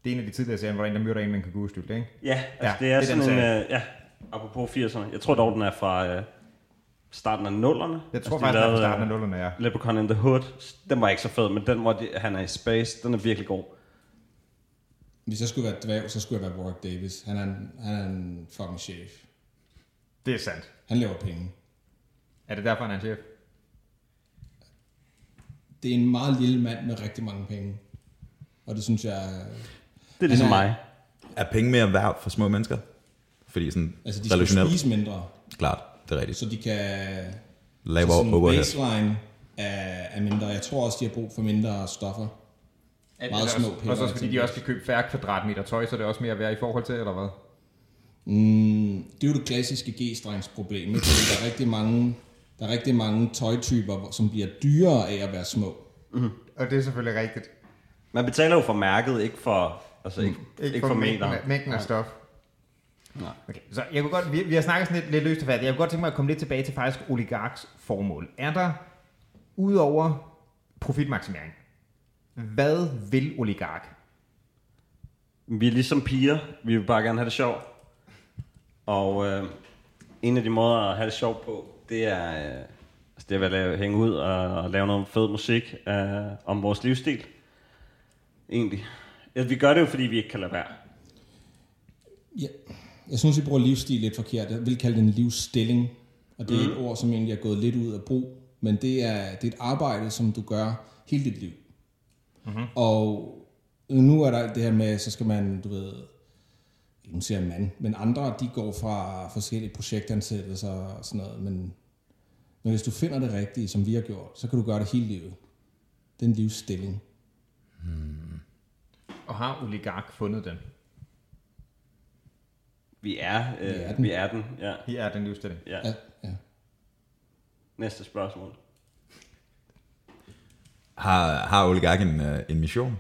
Speaker 2: Det er en af de tidligere serier, hvor der er en, der myrder en med en kængurustylt, ikke?
Speaker 3: Ja, altså,
Speaker 2: Ja,
Speaker 3: ja, det er
Speaker 2: det er den
Speaker 3: sådan en...
Speaker 2: serie.
Speaker 3: Øh, ja, apropos 80'erne. Jeg tror dog, den er fra øh, starten af nullerne. Altså,
Speaker 2: Jeg tror faktisk, at det er fra starten af nullerne, ja.
Speaker 3: øh, Leprechaun in the Hood. Den var ikke så fed, men den, hvor de, han er i space, den er virkelig god.
Speaker 4: hvis jeg skulle være dværg, så skulle jeg være Warwick Davis. Han er en, han er en fucking chef.
Speaker 2: Det er sandt.
Speaker 4: Han laver penge.
Speaker 2: Er det derfor, han er en chef?
Speaker 4: Det er en meget lille mand med rigtig mange penge. Og det synes jeg...
Speaker 3: Det er ligesom
Speaker 4: Han er-
Speaker 3: mig.
Speaker 1: Er penge mere værd for små mennesker? Fordi sådan
Speaker 4: Altså, de skal
Speaker 1: relationelt,
Speaker 4: spise mindre,
Speaker 1: klart, det er rigtigt.
Speaker 4: så de kan... så
Speaker 1: Lavere
Speaker 4: sådan
Speaker 1: overhead.
Speaker 4: baseline er, er mindre. Jeg tror også, de har brug for mindre stoffer.
Speaker 2: At,
Speaker 4: Meget
Speaker 2: eller også-
Speaker 4: små piller,
Speaker 2: Og så fordi de
Speaker 4: eksempelvis.
Speaker 2: også skal købe færre kvadratmeter tøj, så er det også mere værd i forhold til, eller hvad?
Speaker 4: Mm, det er jo det klassiske G-strengsproblem, ikke? Fordi der er rigtig mange, der er rigtig mange tøjtyper, hvor- som bliver dyrere af at være små.
Speaker 2: Og det er selvfølgelig rigtigt.
Speaker 3: Man betaler jo for mærket, ikke for, altså, ikke,
Speaker 2: Mm.
Speaker 3: ikke, for meter.
Speaker 2: mængden, af- mængden af stof.
Speaker 3: Nej.
Speaker 2: Okay, så jeg kunne godt, vi, vi har snakket sådan lidt, lidt løst og færdigt. Jeg kunne godt tænke mig at komme lidt tilbage til faktisk oligarks formål. Er der, udover profitmaksimering, hvad vil oligark?
Speaker 3: Vi er ligesom piger. Vi vil bare gerne have det sjovt. Og øh, en af de måder at have det sjovt på, det er, øh, altså, det er ved at lave, hænge ud og, og lave noget fed musik øh, om vores livsstil. Egentlig. Ja, vi gør det jo, fordi vi ikke kan lade være.
Speaker 4: Ja. Jeg synes, vi bruger livsstil lidt forkert. Jeg vil kalde det en livsstilling. Og det er et ord, som egentlig er gået lidt ud af brug. Men det er, det er et arbejde, som du gør hele dit liv. Mm-hmm. Og nu er der alt det her med, så skal man, du ved, nu siger jeg mand, men andre, de går fra forskellige projektansættelser og sådan noget. Men, men hvis du finder det rigtige, som vi har gjort, så kan du gøre det hele livet. Det er en livsstilling.
Speaker 2: Og har oligark fundet den?
Speaker 3: Vi er, øh, vi
Speaker 4: er
Speaker 3: er
Speaker 4: den.
Speaker 3: den. Vi er den. Ja.
Speaker 2: Her er den livsstilling.
Speaker 3: ja.
Speaker 4: Ja, ja.
Speaker 3: Næste spørgsmål.
Speaker 1: Har, har Ole en, øh, en mission?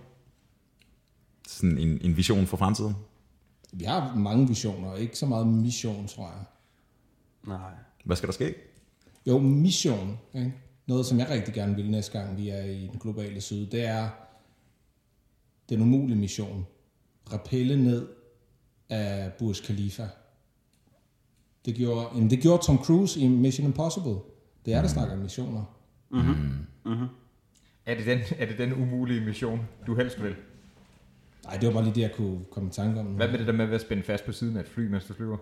Speaker 1: Sådan en, en vision for fremtiden?
Speaker 4: Vi har mange visioner, ikke så meget mission, tror jeg.
Speaker 3: Nej.
Speaker 1: Hvad skal der ske?
Speaker 4: Jo, mission. Ikke? Noget, som jeg rigtig gerne vil næste gang, vi er i den globale syd, det er den umulige mission. Rappelle ned af Burj Khalifa. Det gjorde, jamen det gjorde Tom Cruise i Mission Impossible. Det er, der snakker om missioner.
Speaker 2: Er det den, er det den umulige mission, du helst vil?
Speaker 4: Nej, det var bare lige det, jeg kunne komme i tanke om.
Speaker 2: Hvad med det der med at være spændt fast på siden af et fly, mens du flyver?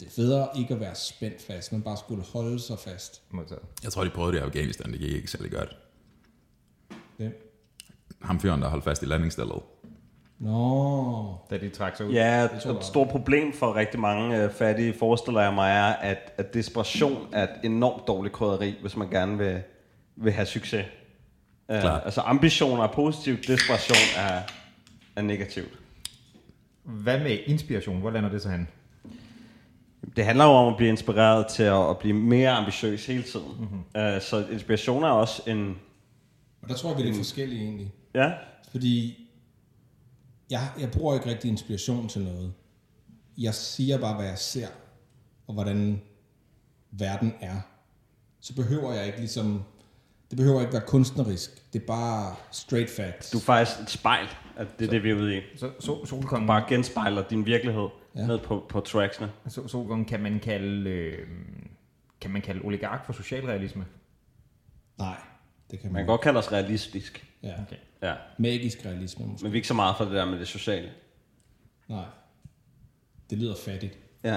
Speaker 4: Det er federe ikke at være spændt fast, men bare skulle holde sig fast.
Speaker 2: Modtaget.
Speaker 1: Jeg tror, de prøvede det i Afghanistan. Det gik ikke særlig godt.
Speaker 4: Det.
Speaker 1: Ham fyren, der holdt fast i landingsstedet.
Speaker 4: Nå,
Speaker 2: Da de trak sig ud.
Speaker 3: Ja, og et stort problem for rigtig mange øh, fattige, forestiller jeg mig, er, at, at desperation er et enormt dårligt krydderi, hvis man gerne vil, vil have succes.
Speaker 1: Klart.
Speaker 3: Uh, altså ambitioner er positivt, desperation er, er negativt.
Speaker 2: Hvad med inspiration? Hvor lander det så hen?
Speaker 3: Det handler jo om at blive inspireret til at, at blive mere ambitiøs hele tiden. Mm-hmm. Uh, så inspiration er også en...
Speaker 4: og der tror jeg, vi er lidt forskellige egentlig.
Speaker 3: Ja,
Speaker 4: Fordi jeg, jeg bruger ikke rigtig inspiration til noget. Jeg siger bare, hvad jeg ser, og hvordan verden er. Så behøver jeg ikke ligesom... Det behøver ikke være kunstnerisk. Det er bare straight facts.
Speaker 3: du er faktisk et spejl, at det er det, vi er ude i.
Speaker 2: Så sol, solkongen,
Speaker 3: Bare genspejler din virkelighed
Speaker 4: Ja.
Speaker 3: ja. ned på, på tracksene.
Speaker 2: sol, solkongen kan man kalde... Øh, kan man kalde oligark for socialrealisme?
Speaker 4: Nej, det kan man,
Speaker 3: Man kan godt kalde os realistisk.
Speaker 4: Ja.
Speaker 2: Okay.
Speaker 3: Ja.
Speaker 4: Magisk realisme måske.
Speaker 3: Men vi er ikke så meget for det der med det sociale.
Speaker 4: Nej. Det lyder fattigt.
Speaker 3: Ja.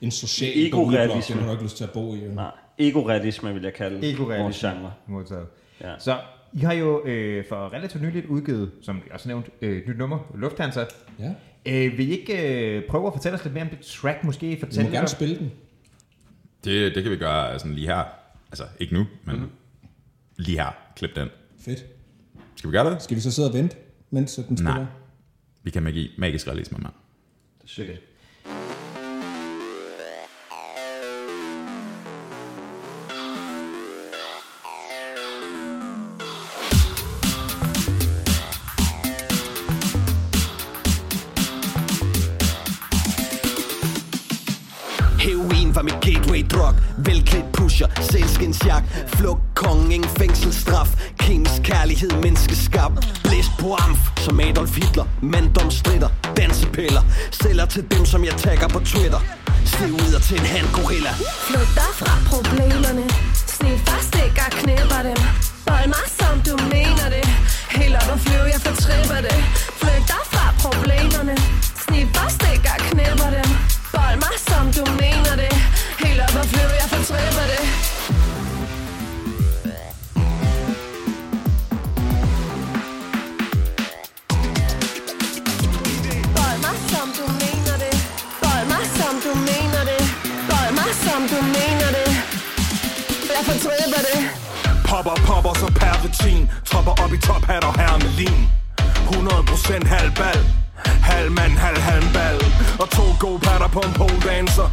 Speaker 4: En social boligblok,
Speaker 3: Ego-realisme.
Speaker 4: den har du ikke lyst til at bo i. jo.
Speaker 3: Nej. Egorealisme vil jeg kalde vores
Speaker 2: Ekorealisme.
Speaker 3: genre.
Speaker 2: Modtaget.
Speaker 3: Ja.
Speaker 2: Så I har jo øh, for relativt nyligt udgivet, som jeg også nævnt, øh, et nyt nummer, Lufthansa.
Speaker 4: Ja.
Speaker 2: Øh, vil I ikke øh, prøve at fortælle os lidt mere om det track, måske?
Speaker 4: Du må
Speaker 2: Fortælle
Speaker 4: gerne
Speaker 2: lidt om-
Speaker 4: spille den.
Speaker 1: Det, det kan vi gøre øh, sådan lige her. Altså, ikke nu, men mm-hmm. lige her. Klip den.
Speaker 4: Fedt.
Speaker 1: Skal vi gøre det?
Speaker 4: Skal vi så sidde og vente, mens at den spiller?
Speaker 1: Vi kan magi, magisk realisme, mand.
Speaker 3: Det er sikkert.
Speaker 5: Heroin var mit gateway drug Velklædt pusher, sælskindsjak Flugt kongen, ingen fængselsstraf Kemisk kærlighed, menneskeskab Blæst på amf, som Adolf Hitler Manddom stritter, dansepiller Sælger til dem, som jeg tagger på Twitter Stiv ud til en handgorilla
Speaker 6: Flygter fra problemerne Sne stikker knæpper dem Bold mig som du mener det Helt op og flyv, jeg fortripper det Flygter fra problemerne Sne stikker knæpper dem Bold mig som du mener det Helt op og flyv, jeg fortripper det Bold mig som du mener det Bold mig som du mener det Bold mig som du mener det Jeg fortripper det
Speaker 7: Popper, popper som perritin Tropper op i tophat og hermelin 100% halvbal Halv mand, halv halmbal Og to go-patter på en pole dancer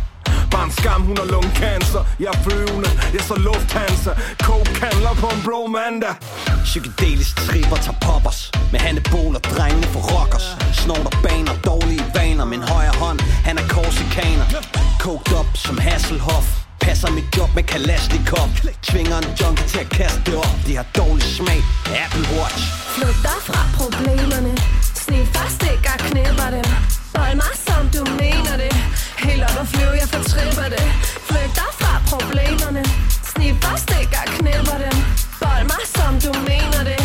Speaker 7: Bare en skam, hun har lungcancer Jeg er flyvende, jeg er så lufthanser Coke handler på en blå mandag
Speaker 5: Psykedelisk tripper tager poppers Med handebol og drengene for rockers Snorter baner, dårlige vaner Min højre hånd, han er korsikaner Coked op som Hasselhoff Passer mit job med Kalashnikov Tvinger en junkie til at kaste det op De har dårlig smag, Apple Watch
Speaker 6: Flygter fra problemerne Sne stikker knæpper dem Bold mig som du mener det Helt op og flyv, jeg fortripper det Flygter fra problemerne Sne stikker knæpper dem Bold mig som du mener det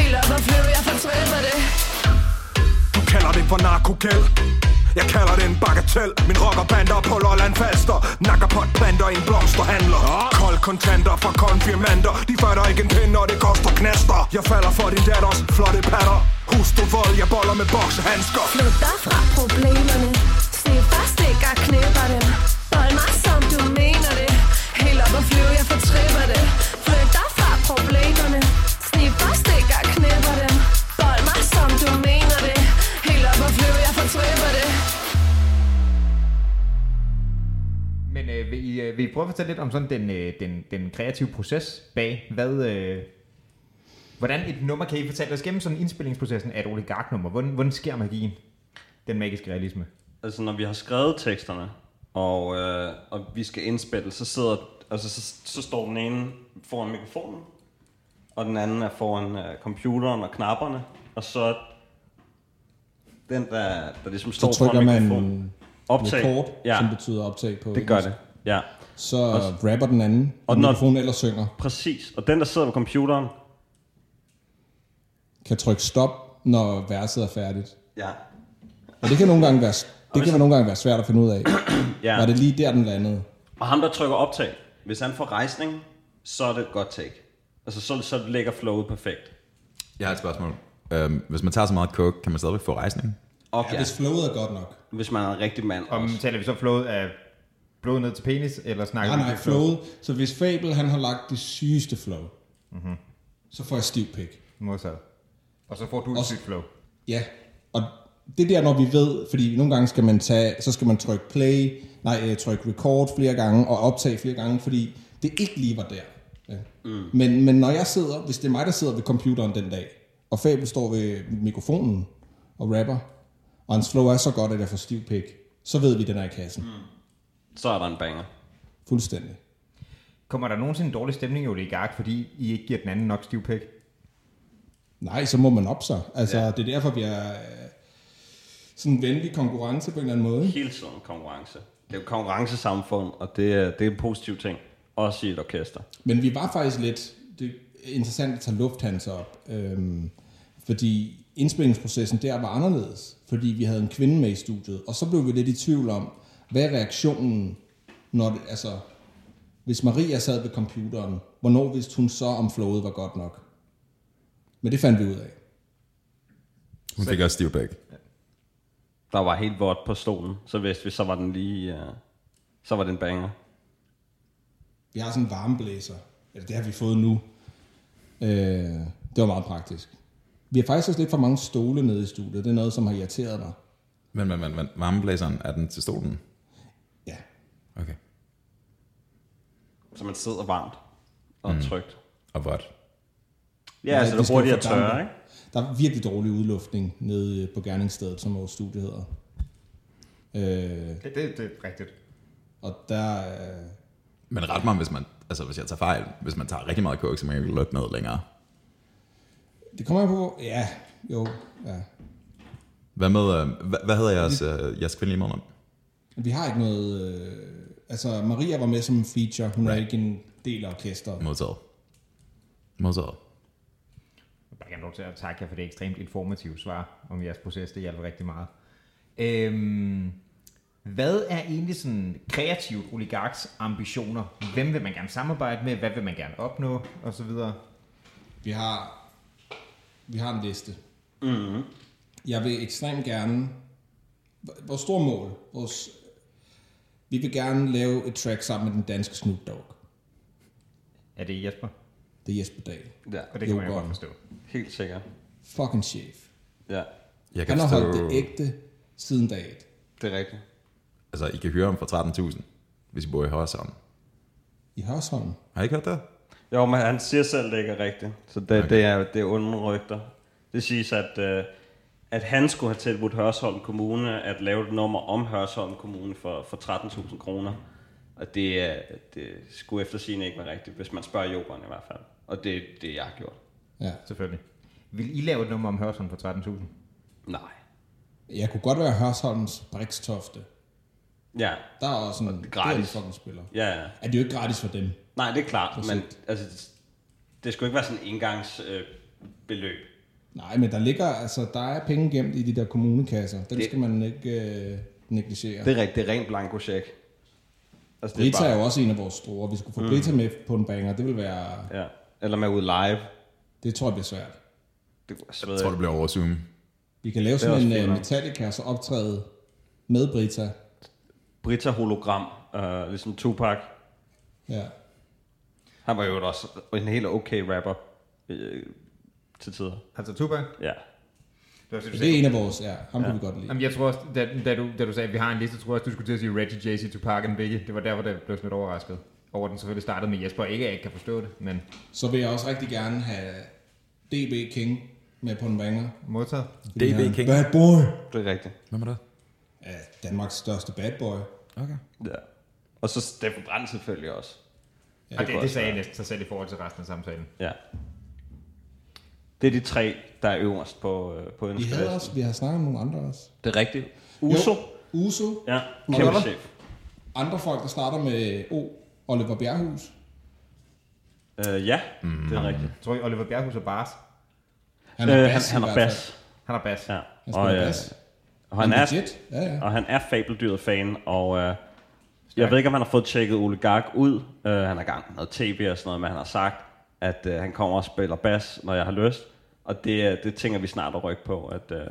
Speaker 6: Helt op og flyv, jeg fortripper det
Speaker 7: Du kalder det for narkogæld jeg kalder det en bagatel Min rockerbander på Lolland Falster Nakker på et planter i en blomsterhandler Kold kontanter fra konfirmander De fatter ikke en pind, når det koster knaster Jeg falder for din datters flotte patter Husk du vold, jeg boller med boksehandsker
Speaker 6: Flygter fra problemerne Sne stikker knæpper dem Bold mig som du mener det Helt op og flyv, jeg fortripper det Flygter fra problemerne Sne stikker knæpper dem Bold mig som du mener det Helt op og flyv, jeg fortripper det
Speaker 2: Men øh, vil, I, øh, vil I prøve at fortælle lidt om sådan den, øh, den, den kreative proces bag, hvad, øh, hvordan et nummer kan I fortælle os gennem sådan indspillingsprocessen af et oligarknummer? Hvordan, hvordan sker magien? Den magiske realisme.
Speaker 3: altså når vi har skrevet teksterne, og, øh, og vi skal indspille, så sidder, altså så, så står den ene foran mikrofonen, og den anden er foran øh, computeren og knapperne, og så den, der, der ligesom
Speaker 4: Så
Speaker 3: står
Speaker 4: trykker
Speaker 3: foran
Speaker 4: man
Speaker 3: mikrofonen, optag,
Speaker 4: record,
Speaker 3: ja,
Speaker 4: som betyder optag på
Speaker 3: det gør det, ja,
Speaker 4: Så rapper den anden, og
Speaker 3: Og når-
Speaker 4: mikrofonen ellers synger,
Speaker 3: præcis, og den der sidder på computeren,
Speaker 4: kan trykke stop, når verset er færdigt.
Speaker 3: ja,
Speaker 4: Og det kan nogle gange være, det kan
Speaker 3: hvis-
Speaker 4: nogle gange være svært at finde ud af.
Speaker 3: ja,
Speaker 4: Var det lige der, den landede?
Speaker 3: og ham der trykker optag, hvis han får rejsning, så er det et godt take, altså så, så ligger flowet perfekt,
Speaker 1: Jeg har et spørgsmål. Øhm, hvis man tager så meget coke, kan man stadigvæk få rejsning?
Speaker 3: og ja,
Speaker 4: Hvis flowet er godt nok.
Speaker 3: hvis man er en rigtig mand
Speaker 2: Om taler vi så flowet af blod ned til penis, eller snakker
Speaker 4: Nej,
Speaker 2: vi
Speaker 4: nej,
Speaker 2: om flow?
Speaker 4: flowet. Så hvis Fabel han har lagt det sygeste flow, mm-hmm.
Speaker 3: Mhm.
Speaker 4: så får jeg stiv pik.
Speaker 2: Modsat. Og så får du et
Speaker 4: Også-
Speaker 2: sygt flow.
Speaker 4: Ja, og det er der, når vi ved, fordi nogle gange skal man tage, så skal man trykke play, nej, øh, trykke record flere gange og optage flere gange, fordi det ikke lige var der. Ja. Mm. Men, men når jeg sidder, hvis det er mig, der sidder ved computeren den dag, og Fabel står ved mikrofonen og rapper, og hans flow er så godt, at jeg får stiv pik, så ved vi, den er i kassen. Mm.
Speaker 3: så er der en banger.
Speaker 4: Fuldstændig.
Speaker 2: Kommer der nogensinde en dårlig stemning i oligark, fordi I ikke giver den anden nok stiv pik?
Speaker 4: Nej, så må man op sig. Altså, ja. det er derfor, vi er øh, sådan en venlig konkurrence på en eller anden måde. ikke?
Speaker 3: hele tiden konkurrence. Det er jo et konkurrencesamfund, og det er, det er en positiv ting. Også i et orkester.
Speaker 4: Men vi var faktisk lidt... Det er interessant at tage Lufthansa op. Øhm, fordi indspillingsprocessen der var anderledes. Fordi vi havde en kvinde med i studiet. Og så blev vi lidt i tvivl om, hvad er reaktionen, når det, altså, hvis Maria sad ved computeren, hvornår vidste hun så, om flowet var godt nok? Men det fandt vi ud af.
Speaker 1: Hun fik også stiv pæk.
Speaker 3: Der var helt vådt på stolen, så vidste vi, så var den lige... Uh, så var den banger.
Speaker 4: Vi har sådan en varmeblæser. Eller det har vi fået nu. Øh, det var meget praktisk. Vi har faktisk også lidt for mange stole nede i studiet. Det er noget, som har irriteret mig.
Speaker 1: Men, men, men, men varmeblæseren, er den til stolen?
Speaker 4: Ja.
Speaker 1: Okay.
Speaker 3: Så man sidder varmt og mm. trygt.
Speaker 1: Og vådt.
Speaker 3: Ja, altså
Speaker 4: vi
Speaker 3: det
Speaker 4: skal
Speaker 3: bruger de
Speaker 4: jo
Speaker 3: at
Speaker 4: fordampe.
Speaker 3: tørre, ikke?
Speaker 4: Der er virkelig dårlig udluftning nede øh, på gerningsstedet, som vores studie hedder. Øh,
Speaker 2: Det, det, det er rigtigt.
Speaker 4: og der... Øh,
Speaker 1: Men ret mig, hvis, man, altså, hvis jeg tager fejl. Hvis man tager rigtig meget coke, så man kan lukke noget længere.
Speaker 4: det kommer jeg på... hvor- Ja, jo. Ja.
Speaker 1: Hvad med, øh, hvad, hvad hedder jeres, øh, jeres kvindelige medlem?
Speaker 4: Vi har ikke noget... Øh, altså, Maria var med som en feature. Hun er ikke en del af orkestret.
Speaker 1: Modtaget. Modtaget.
Speaker 2: Jeg vil bare gerne lov til at takke jer for det ekstremt informative svar om jeres proces. Det hjalp rigtig meget. Øhm, hvad er egentlig sådan kreativt oligarks ambitioner? Hvem vil man gerne samarbejde med? Hvad vil man gerne opnå? Og så videre.
Speaker 4: Vi har, vi har en liste. Mm-hmm. Jeg vil ekstremt gerne... Vores store mål... Vores, vi vil gerne lave et track sammen med den danske Snoop Dogg.
Speaker 2: Er det Jesper?
Speaker 4: Det er Jesper Dahl.
Speaker 3: Ja,
Speaker 2: Og det kan man jo
Speaker 4: Jo,
Speaker 2: godt
Speaker 4: godt.
Speaker 2: forstå.
Speaker 3: helt sikkert.
Speaker 4: Fucking chef.
Speaker 3: Ja,
Speaker 1: Jeg kan
Speaker 4: Han har
Speaker 1: forstå,
Speaker 4: holdt det ægte siden dag et.
Speaker 3: det er rigtigt.
Speaker 1: Altså, I kan høre om for 13.000, hvis I bor i Hørsholm.
Speaker 4: I Hørsholm.
Speaker 1: Har I ikke hørt det?
Speaker 3: Jo, men han siger selv, det ikke er rigtigt. Så det, okay. det er, det er onde rygter. Det siges, at, øh, at han skulle have tilbudt Hørsholm Kommune at lave et nummer om Hørsholm Kommune for, for 13.000 kroner. Og det, er- det skulle efter sigende ikke være rigtigt, hvis man spørger jokeren i hvert fald. Og det er det, jeg har gjort.
Speaker 4: Ja.
Speaker 2: Selvfølgelig. Vil I lave et nummer om Hørsholm for 13.000?
Speaker 3: Nej.
Speaker 4: Jeg kunne godt være Hørsholms Brikstofte.
Speaker 3: Ja,
Speaker 4: Der er også en,
Speaker 3: gratis.
Speaker 4: det er en fucking spiller.
Speaker 3: ja, ja.
Speaker 4: Er det jo ikke gratis for dem?
Speaker 3: Nej, det er klart,
Speaker 4: Præcis.
Speaker 3: men altså, det skulle ikke være sådan en engangsbeløb. Øh, beløb.
Speaker 4: Nej, men der ligger, altså, der er penge gemt i de der kommunekasser. Dem det, skal man ikke øh, negligere. Det,
Speaker 3: det er rigtigt, det er rent blanko check. Altså,
Speaker 4: Brita er jo også en af vores store. Vi skulle få mm. Brita med på en banger. Det vil være,
Speaker 3: Ja. Eller med ud live.
Speaker 4: det tror jeg bliver svært.
Speaker 3: Det,
Speaker 1: Jeg tror, det bliver over Zoom.
Speaker 4: Vi kan lave
Speaker 3: også
Speaker 4: sådan en
Speaker 3: fint
Speaker 4: øh,
Speaker 3: nok.
Speaker 4: Metallica, og så optræde med Brita.
Speaker 3: Brita hologram, øh, ligesom Tupac.
Speaker 4: Ja.
Speaker 3: Han var jo også en helt okay rapper øh, til tider.
Speaker 2: Altså Tupac?
Speaker 3: Ja.
Speaker 2: Det var, det, du
Speaker 4: Det er
Speaker 2: sagde.
Speaker 4: en af vores, ja. Ham ja. kunne vi godt lide.
Speaker 2: Jamen, jeg tror også, da, da, du, da du sagde, at vi har en liste, tror jeg også, du skulle til at sige Reggie, Jay-Z, Tupac og Biggie. Det var derfor, der blev sådan lidt overrasket over, at den selvfølgelig startede med Jesper. Ikke, at jeg ikke kan forstå det, men
Speaker 4: Så vil jeg også rigtig gerne have DB King med på en banger.
Speaker 2: modtaget.
Speaker 1: DB
Speaker 4: Ja.
Speaker 1: King.
Speaker 4: Bad boy.
Speaker 3: Det er rigtigt.
Speaker 1: Hvem er det?
Speaker 4: Ja, Danmarks største bad boy.
Speaker 1: Okay.
Speaker 3: Ja. Og så Steffen Brandt selvfølgelig også.
Speaker 2: Ja, det, det,
Speaker 3: godt
Speaker 2: sagde jeg næsten sig selv i forhold til resten af samtalen.
Speaker 3: Ja. Det er de tre, der er øverst på, øh, på
Speaker 4: Vi havde også,
Speaker 3: ønskelisten.
Speaker 4: vi har snakket om nogle andre også.
Speaker 3: Det er rigtigt. Uso.
Speaker 4: Jo, Uso.
Speaker 3: Ja,
Speaker 4: Knoller.
Speaker 3: kæmpe chef.
Speaker 4: Andre folk, der starter med O. Oliver Bjerghus.
Speaker 3: Øh, ja, det er rigtigt.
Speaker 2: Jeg tror, I, Oliver Bjerghus er bars.
Speaker 4: Han
Speaker 3: Øh, han,
Speaker 4: bass i
Speaker 3: han er
Speaker 4: hvert fald.
Speaker 3: bas.
Speaker 2: Han er bas.
Speaker 3: Ja.
Speaker 4: Han spiller
Speaker 3: øh,
Speaker 4: bas.
Speaker 3: og han er,
Speaker 4: legit. Ja, ja.
Speaker 3: og han er fabeldyret fan, og øh, jeg ved ikke, om han har fået tjekket Ole Gark ud. Øh, han er i gang med noget tv og sådan noget, men han har sagt, at øh, han kommer og spiller bas, når jeg har lyst. Og det, øh, det tænker vi snart at rykke på, at øh,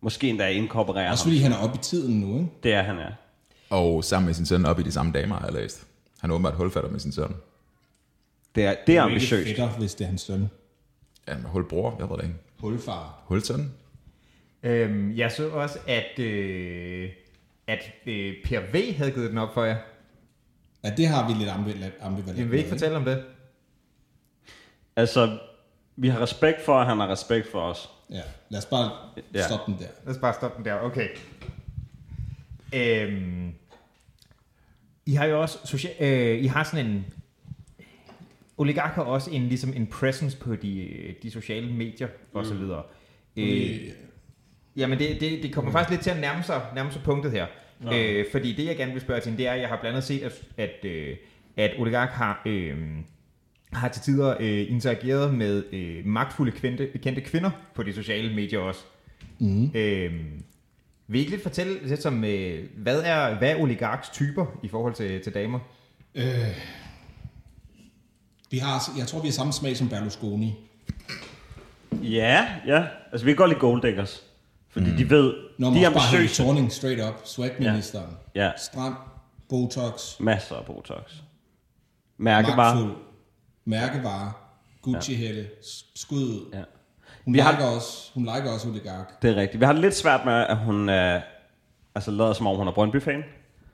Speaker 3: måske endda inkorporere
Speaker 4: Også
Speaker 3: ham.
Speaker 4: fordi han er oppe i tiden nu, ikke?
Speaker 3: Det er han, er.
Speaker 1: Og sammen med sin søn op i de samme damer, har jeg læst. Han er åbenbart hulfatter med sin søn.
Speaker 3: Det er, det er
Speaker 4: Det er ikke
Speaker 3: ambitiøst.
Speaker 4: fætter, hvis det er hans søn.
Speaker 1: Jamen, hulbror, jeg ved det ikke.
Speaker 4: Hulfar.
Speaker 1: Hulsøn?
Speaker 2: Øhm, jeg så også, at, øh, at øh, Per V havde givet den op for jer.
Speaker 4: Ja, det har vi lidt ambivalent. ambivalent
Speaker 2: Jeg vil I ikke fortælle om det.
Speaker 3: Altså, vi har respekt for, at han har respekt for os.
Speaker 4: Ja, lad os bare
Speaker 3: Ja.
Speaker 4: stoppe den der.
Speaker 2: Lad os bare stoppe den der. Okay. Øhm, I har jo også social, øh, I har sådan en oligark har også en ligesom en presence på de, øh, de sociale medier og så videre. Øh, Jamen, det, det, det kommer faktisk lidt til at nærme sig, nærme sig punktet her. Øh, fordi det, jeg gerne vil spørge til, det er, at jeg har blandt andet set, at, at, øh, at oligark har, øh, har til tider øh, interageret med øh, magtfulde kvinde, kendte kvinder på de sociale medier også. Mm. Øh, vil I ikke lidt fortælle lidt som, øh, hvad er, hvad er oligarks typer i forhold til, til damer?
Speaker 4: Vi har, jeg tror, vi har samme smag som Berlusconi.
Speaker 3: Ja, ja. Altså, vi kan godt lide golddiggers. Fordi mm. de ved,
Speaker 4: Når
Speaker 3: de
Speaker 4: man
Speaker 3: er
Speaker 4: bare Helle
Speaker 3: ambitiøse.
Speaker 4: Thorning straight up, swagministeren,
Speaker 3: Ja. Ja.
Speaker 4: stram, botox,
Speaker 3: Masser af Botox. Mærkevare.
Speaker 4: magtfuld, mærkevare, Gucci-hætte, s- skud ud.
Speaker 3: Ja.
Speaker 4: Hun,
Speaker 3: Vi har-
Speaker 4: liker også, hun liker også oligark.
Speaker 3: Det er rigtigt. Vi har det lidt svært med, at hun øh, altså, lader som om, hun er Brøndby-fan.